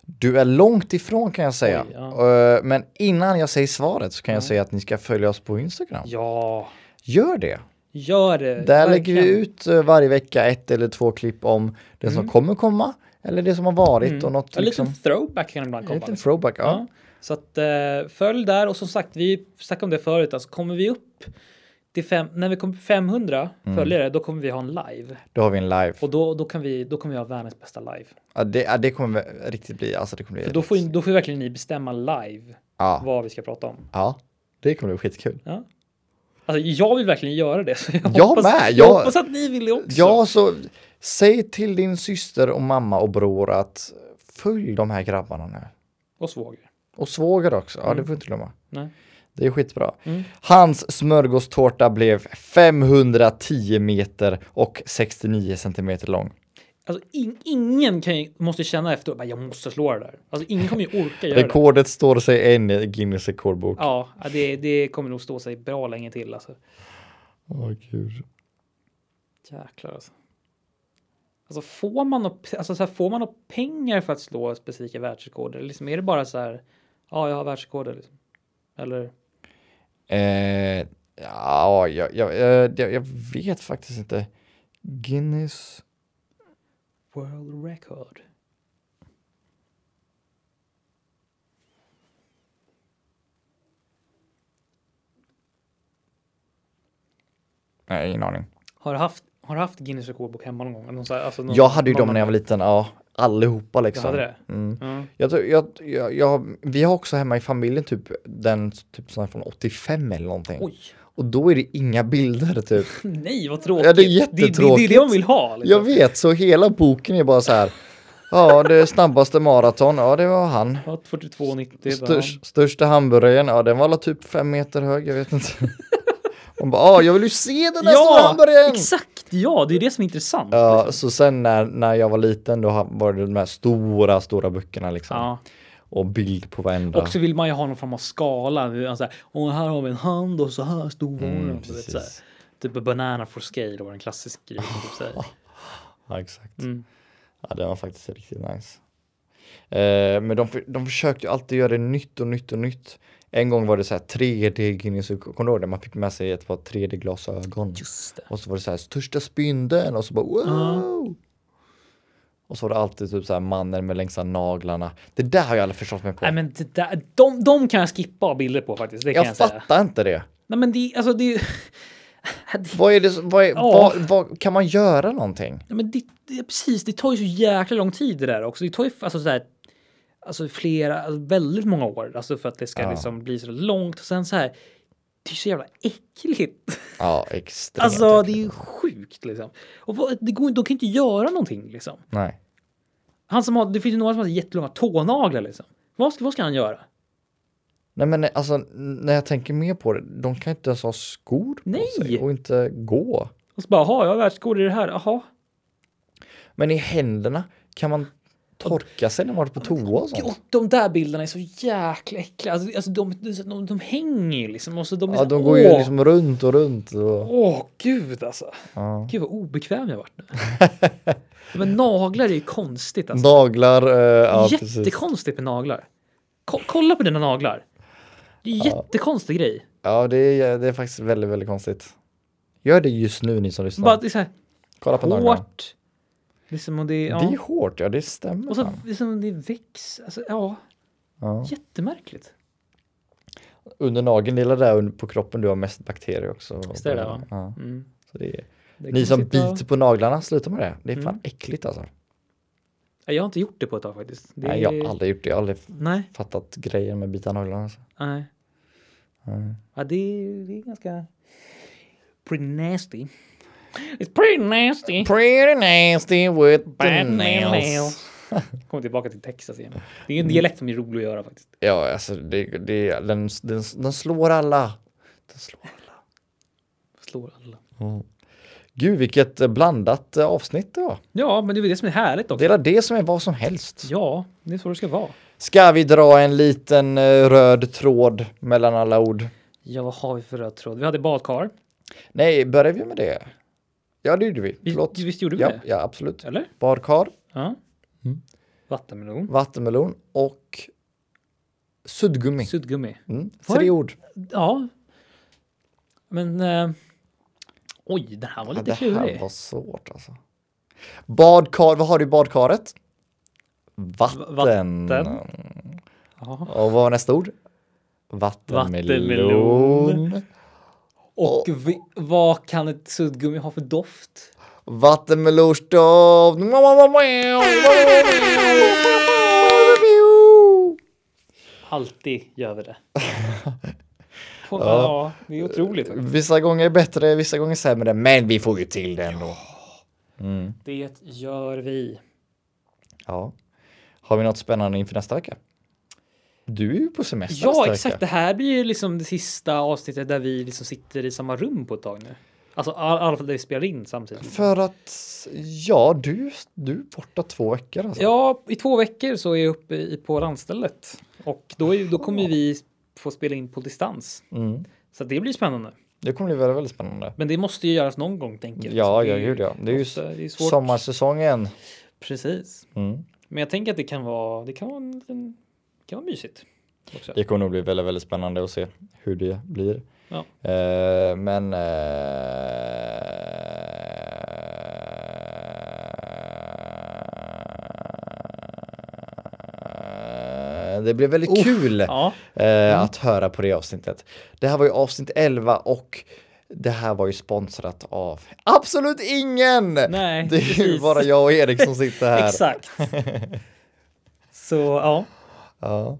B: Du är långt ifrån kan jag säga.
A: Oj, ja.
B: Eh, Men innan jag säger svaret så kan jag
A: Ja.
B: säga att ni ska följa oss på Instagram.
A: Ja,
B: Gör det!
A: gör det.
B: Där lägger vi
A: verkligen.
B: ut eh, varje vecka ett eller två klipp om det som
A: Mm.
B: kommer komma eller det som har varit
A: Mm.
B: och något
A: En
B: liksom.
A: liten throwback kan ibland
B: En
A: komma.
B: liten
A: liksom.
B: throwback, ja.
A: Ja. Så att eh, följ där och som sagt, vi snackade om det förut, alltså kommer vi upp till fem, när vi kommer på 500
B: Mm.
A: följare, då kommer vi ha en live.
B: Då har vi en live.
A: Och då, då, kan vi, då kommer vi ha världens bästa live.
B: Ja, det, ja, det kommer väl riktigt bli, alltså det kommer bli...
A: För då, får, ju- då får ju verkligen ni bestämma live
B: ja,
A: vad vi ska prata om.
B: ja, det kommer bli skitkul.
A: Ja. Alltså, jag vill verkligen göra det. Så jag,
B: Jag
A: hoppas,
B: med,
A: jag,
B: jag-
A: hoppas att ni vill det också.
B: Ja, så säg till din syster och mamma och bror att följ de här grabbarna nu.
A: Och svåger.
B: Och svåger också, ja
A: Mm.
B: det får du inte glömma.
A: Nej.
B: Det är skitbra.
A: Mm.
B: Hans smörgåstårta blev 510 meter och 69 centimeter lång.
A: Alltså, in, ingen kan ju, måste känna efteråt att jag måste slå det där. Alltså, ingen kommer ju orka göra det.
B: Rekordet står sig än i Guinness rekordbok.
A: Ja, ja, det, det kommer nog stå sig bra länge till. Alltså.
B: Åh, gud.
A: Jäklar alltså. Alltså får man, något- alltså så här, får man något pengar för att slå specifika världsrekord? Eller liksom, är det bara så här, ja, jag har världsrekord. Liksom. Eller?
B: Eh, ja, jag, jag, eh, jag, jag vet faktiskt inte. Guinness.
A: World record.
B: Nej, ingen aning.
A: Har du haft, har du haft Guinness rekordbok hemma någon gång? Eller någon så här, alltså någon,
B: Jag hade ju dem
A: någon-
B: när jag var liten, ja. Allihopa
A: Du
B: liksom.
A: hade det?
B: Mm.
A: Mm.
B: Jag, tror- jag, jag, jag, vi har också hemma i familjen typ den typ sån här från 85 eller någonting.
A: Oj,
B: Och då är det inga bilder typ.
A: nej vad tråkigt.
B: Ja, det är
A: Det, det, det är
B: jättetråkigt.
A: det man vill ha. Liksom.
B: Jag vet, så hela boken är bara så här. Ja, det snabbaste maraton, ja det var han.
A: Ja, 42,90. bara,
B: Störs, största hamburgaren, ja den var alla typ fem meter hög, jag vet inte. Hon bara, ja jag vill ju se den där stora
A: Ja,
B: hamburgaren!
A: exakt ja, det är det som är intressant.
B: Ja,
A: liksom.
B: så sen när, när jag var liten då ha- var det de här stora, stora böckerna liksom.
A: ja.
B: Och bild på varenda.
A: Och så vill man ju ha någon form av skala. Vi- alltså, och här har vi en hand och så här stor var
B: Mm,
A: den. Du vet, så här.
B: precis.
A: Typ banana for scale var en klassisk grej. Typ, så här.
B: Ja, exakt.
A: Mm.
B: Ja, den var faktiskt riktigt nice. Eh, men de, för- de försökte ju alltid göra det nytt och nytt och nytt. En gång var det så här 3D Guinness, kommer du ihåg det? Man fick med sig ett par 3D-glasögon.
A: Just det.
B: Och så var det så här största spyndeln och så bara wow. Och så var det alltid typ så här mannen med längsta naglarna. Det där har jag aldrig förstått mig på.
A: Nej, men det där, de, de kan jag skippa bilder på faktiskt. Det kan jag,
B: jag
A: säga.
B: fattar inte det.
A: Nej, men det, alltså, det, det,
B: Vad är det som- vad är,
A: Ja.
B: vad, vad, kan man göra någonting?
A: Ja, men det, det, precis, det tar ju så jäkla lång tid det där också. Det tar ju alltså, så här, alltså flera, alltså, väldigt många år alltså, för att det ska
B: Ja.
A: liksom bli så långt. Och sen så här, det är så jävla äckligt.
B: Ja, extremt.
A: Alltså det är
B: äckligt.
A: ju sjukt liksom. Och vad, det går, de kan ju inte göra någonting liksom.
B: Nej.
A: Han som har, det finns ju några som har jättelånga tånaglar liksom. Vad ska, vad ska han göra?
B: Nej men alltså n- när jag tänker mer på det, de kan inte ens ha skor på
A: Nej.
B: sig och inte gå.
A: Och så bara, jaha, jag har världsrekord i det här, jaha.
B: Men i händerna, kan man torka sig när man varit på toa och sånt?
A: Och de där bilderna är så jäkla äckliga. Alltså, alltså de, de, de hänger ju liksom. Och så de, är
B: Ja,
A: så här,
B: de går ju
A: åh,
B: liksom runt och runt. Och,
A: Åh gud alltså.
B: ja.
A: Gud vad obekväm jag varit nu. Men naglar är ju konstigt alltså.
B: Naglar, eh, ja precis.
A: Jättekonstigt med naglar. Ko- kolla på dina naglar. Det är en jättekonstig grej.
B: Ja, det är, det är faktiskt väldigt, väldigt konstigt. Gör det just nu ni som lyssnar.
A: Bara att det är så här
B: Kolla på naglarna.
A: hårt. Liksom och det, ja.
B: Det är hårt, ja det stämmer.
A: och så
B: fan.
A: liksom det växer. Alltså, ja,
B: ja.
A: jättemärkligt.
B: Under nageln, det är där under- på kroppen du har mest bakterier också.
A: Visst är det det, va?
B: Ja.
A: Mm.
B: Så det är...
A: Det
B: Ni
A: kan
B: som
A: sitta-
B: biter på naglarna, sluta med det. Det är fan
A: Mm.
B: äckligt alltså.
A: Ja, Jag har inte gjort det på ett tag faktiskt. Det...
B: Nej, jag har aldrig gjort det. Jag har aldrig
A: Nej,
B: fattat grejen med bita naglarna. Alltså.
A: nej.
B: Nej.
A: Ja, det, är- det är ganska... Pretty nasty. It's pretty nasty.
B: Pretty nasty with the
A: Bad
B: nails. Mm.
A: nails. Kommer tillbaka till Texas igen. Det är en dialekt som är rolig att göra faktiskt.
B: Ja, alltså det, det, den, den, den slår alla. Den slår alla.
A: Slår alla.
B: Gud, vilket eh, blandat eh, avsnitt det var.
A: Ja, men det är väl det som är härligt
B: Det
A: också.
B: är väl det som är vad som helst.
A: Ja, det är så det ska vara.
B: Ska vi dra en liten eh, röd tråd mellan alla ord?
A: Ja, vad har vi för röd tråd? Vi hade badkar.
B: Nej, började vi med det? Ja, det gjorde vi.
A: Vi,
B: Förlåt.
A: visst gjorde vi
B: Ja,
A: det?
B: ja, absolut.
A: Eller?
B: Badkar,
A: Ja.
B: Mm.
A: Vattenmelon.
B: vattenmelon och suddgummi.
A: Suddgummi.
B: Mm.
A: Var-
B: Tre ord.
A: Ja. Men... Eh, oj, den här var
B: Ja,
A: lite
B: det här
A: klurig.
B: var svårt alltså. Badkar, vad har du i badkaret? Vatten.
A: vatten. Ja.
B: Och vad var nästa ord? Vattenmelon.
A: Vattenmelon. Och vi, vad kan ett suddgummi ha för doft?
B: Vattenmelonsdoft.
A: Alltid gör vi det. ja. ja, det är otroligt. faktiskt.
B: Vissa gånger bättre, vissa gånger sämre, men vi får ju till det ändå.
A: Det gör vi.
B: Ja. Har vi något spännande inför nästa vecka? Du är ju på semester
A: Ja,
B: nästa
A: exakt. Det
B: vecka.
A: här blir ju liksom det sista avsnittet där vi liksom sitter i samma rum på ett tag nu. Alltså i all, alla fall där vi spelar in samtidigt.
B: För att, ja, du, du är borta två veckor alltså.
A: Ja, i två veckor så är jag uppe i, på landstället och då, är, ju- då kommer ju vi få spela in på distans.
B: Mm.
A: Så det blir spännande.
B: Det kommer bli väldigt, väldigt spännande.
A: Men det måste ju göras någon gång, tänker jag. Alltså,
B: Ja,
A: Det
B: ja,
A: är ju-
B: gud ja. Det är ju
A: ofta- det är svårt.
B: sommarsäsongen.
A: Precis.
B: Mm.
A: Men jag tänker att det kan vara, det kan vara, en, liten- det kan vara mysigt. Också.
B: Det kommer nog bli väldigt, väldigt spännande att se hur det blir.
A: Ja.
B: Eh, men... eh, det blir väldigt kul
A: Ja, Mm.
B: eh, att höra på det avsnittet. Det här var ju avsnitt 11 och det här var ju sponsrat av absolut ingen!
A: Nej,
B: det är ju
A: precis.
B: bara jag och Erik som sitter här.
A: exakt. Så ja.
B: Ja.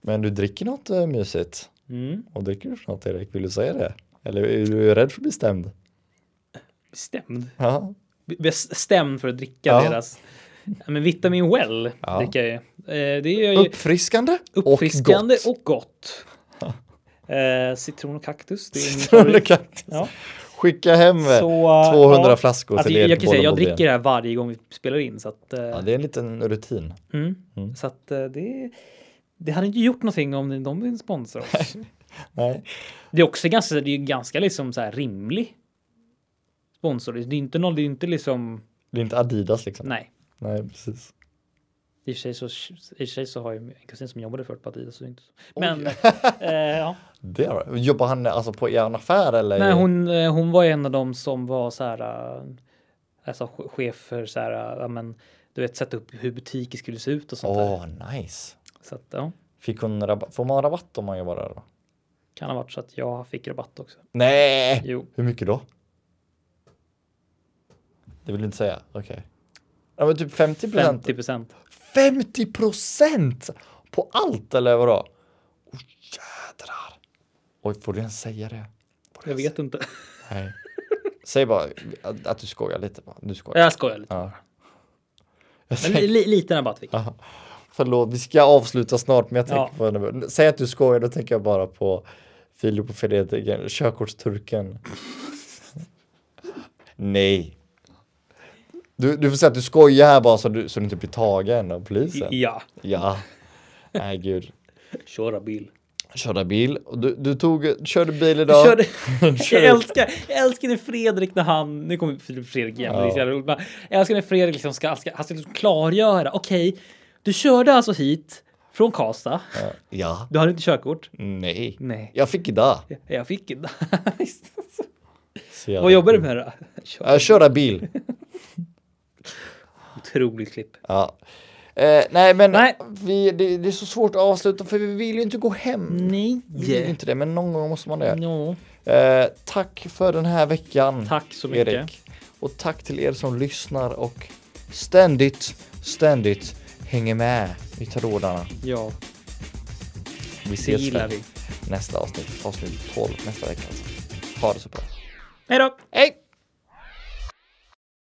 B: Men du dricker något eh, mysigt.
A: Mm.
B: Och dricker du snart Erik? Vill du säga det? Eller är du rädd för att bli stämd?
A: Stämd.
B: Ja.
A: B- bli Stämd för att dricka
B: Ja.
A: deras. Men vitamin well
B: Ja.
A: dricker jag ju. Eh, Det gör jag ju
B: Uppfriskande,
A: uppfriskande
B: och gott.
A: och gott. Eh, citron och kaktus. Det är min
B: Strålande
A: favorit.
B: katt.
A: Ja.
B: Skicka hem eh,
A: Så, eh,
B: 200
A: ja.
B: flaskor
A: Alltså,
B: till
A: jag,
B: er
A: jag kan
B: båda
A: säga, jag
B: Bodén.
A: dricker det här varje gång vi spelar in så att, eh,
B: Ja, det är en liten rutin.
A: mm. så att eh, det, det hade inte gjort någonting om de inte sponsrar oss.
B: Nej.
A: det är också ganska, det är ju ganska liksom så här rimlig sponsor. Det är inte någon, det är inte liksom,
B: Det är inte Adidas liksom.
A: nej.
B: Nej, precis.
A: I och för sig så, i och för sig så har jag en kusin som jobbade förut på Adidas. Så det är inte så. Men eh, ja.
B: Det var det. Jobbar han alltså på i en affär eller?
A: Nej, hon, eh, hon var en av dem som var så här, eh, alltså che- chef för så här, eh, ja, men du vet sätta upp hur butiker skulle se ut och sånt där.
B: Åh, nice.
A: Så att, ja,
B: Fick hon rabatt? Får man rabatt om man jobbar där? Då?
A: kan ha varit så att jag fick rabatt också.
B: Nej!
A: Jo,
B: Hur mycket då? Det vill du inte säga? Okej. Ja, men typ 50 procent?
A: 50 procent.
B: 50 procent på allt eller vadå? Oh, jädrar. Oj, får du ens säga det? Får du
A: Jag
B: ens-
A: vet inte.
B: Nej. Säg bara att, att du skojar lite. Bara. Du skojar.
A: Jag skojar lite.
B: Ja. Jag
A: Men
B: säger,
A: li, liten rabatt fick jag.
B: Ja. förlåt, vi ska avsluta snart, men jag tänker
A: Ja.
B: på henne. Säg att du skojar, då tänker jag bara på Filip och Fredrik, körkortsturken. Nej. Du, du får säga att du skojar här bara så du, så du inte blir tagen av polisen.
A: Ja,
B: Ja. Nej gud.
A: köra bil.
B: Körde bil. Och Du, du tog, körde bil
A: Du
B: idag.
A: körde,
B: Kör.
A: jag, älskar, jag älskar när Fredrik när han, nu kommer Filip Fredrik igen, det är så jävla roligt. men Jag älskar när Fredrik liksom ska, ska, han ska liksom klargöra, okej, du körde alltså hit från Karlstad,
B: Ja.
A: du hade inte körkort?
B: Nej.
A: Nej.
B: Jag fick idag.
A: Jag fick inte.
B: Så jävla
A: Vad jobbar du
B: kul.
A: med då? Kör.
B: Jag körde bil.
A: Otroligt klipp.
B: Ja. Eh, nej men
A: Nej.
B: Vi, det, det är så svårt att avsluta för vi vill ju inte gå hem.
A: Nej.
B: Vi vill ju inte det men någon gång måste man det.
A: Ja.
B: Eh, tack för den här veckan.
A: Tack så mycket.
B: Erik. Och tack till er som lyssnar och ständigt, ständigt hänger med i trådarna.
A: Ja,
B: Vi
A: det
B: ses
A: gillar
B: för
A: vi.
B: nästa avsnitt, avsnitt 12 nästa vecka. Alltså. Ha det så bra.
A: Hej då!
B: Hej!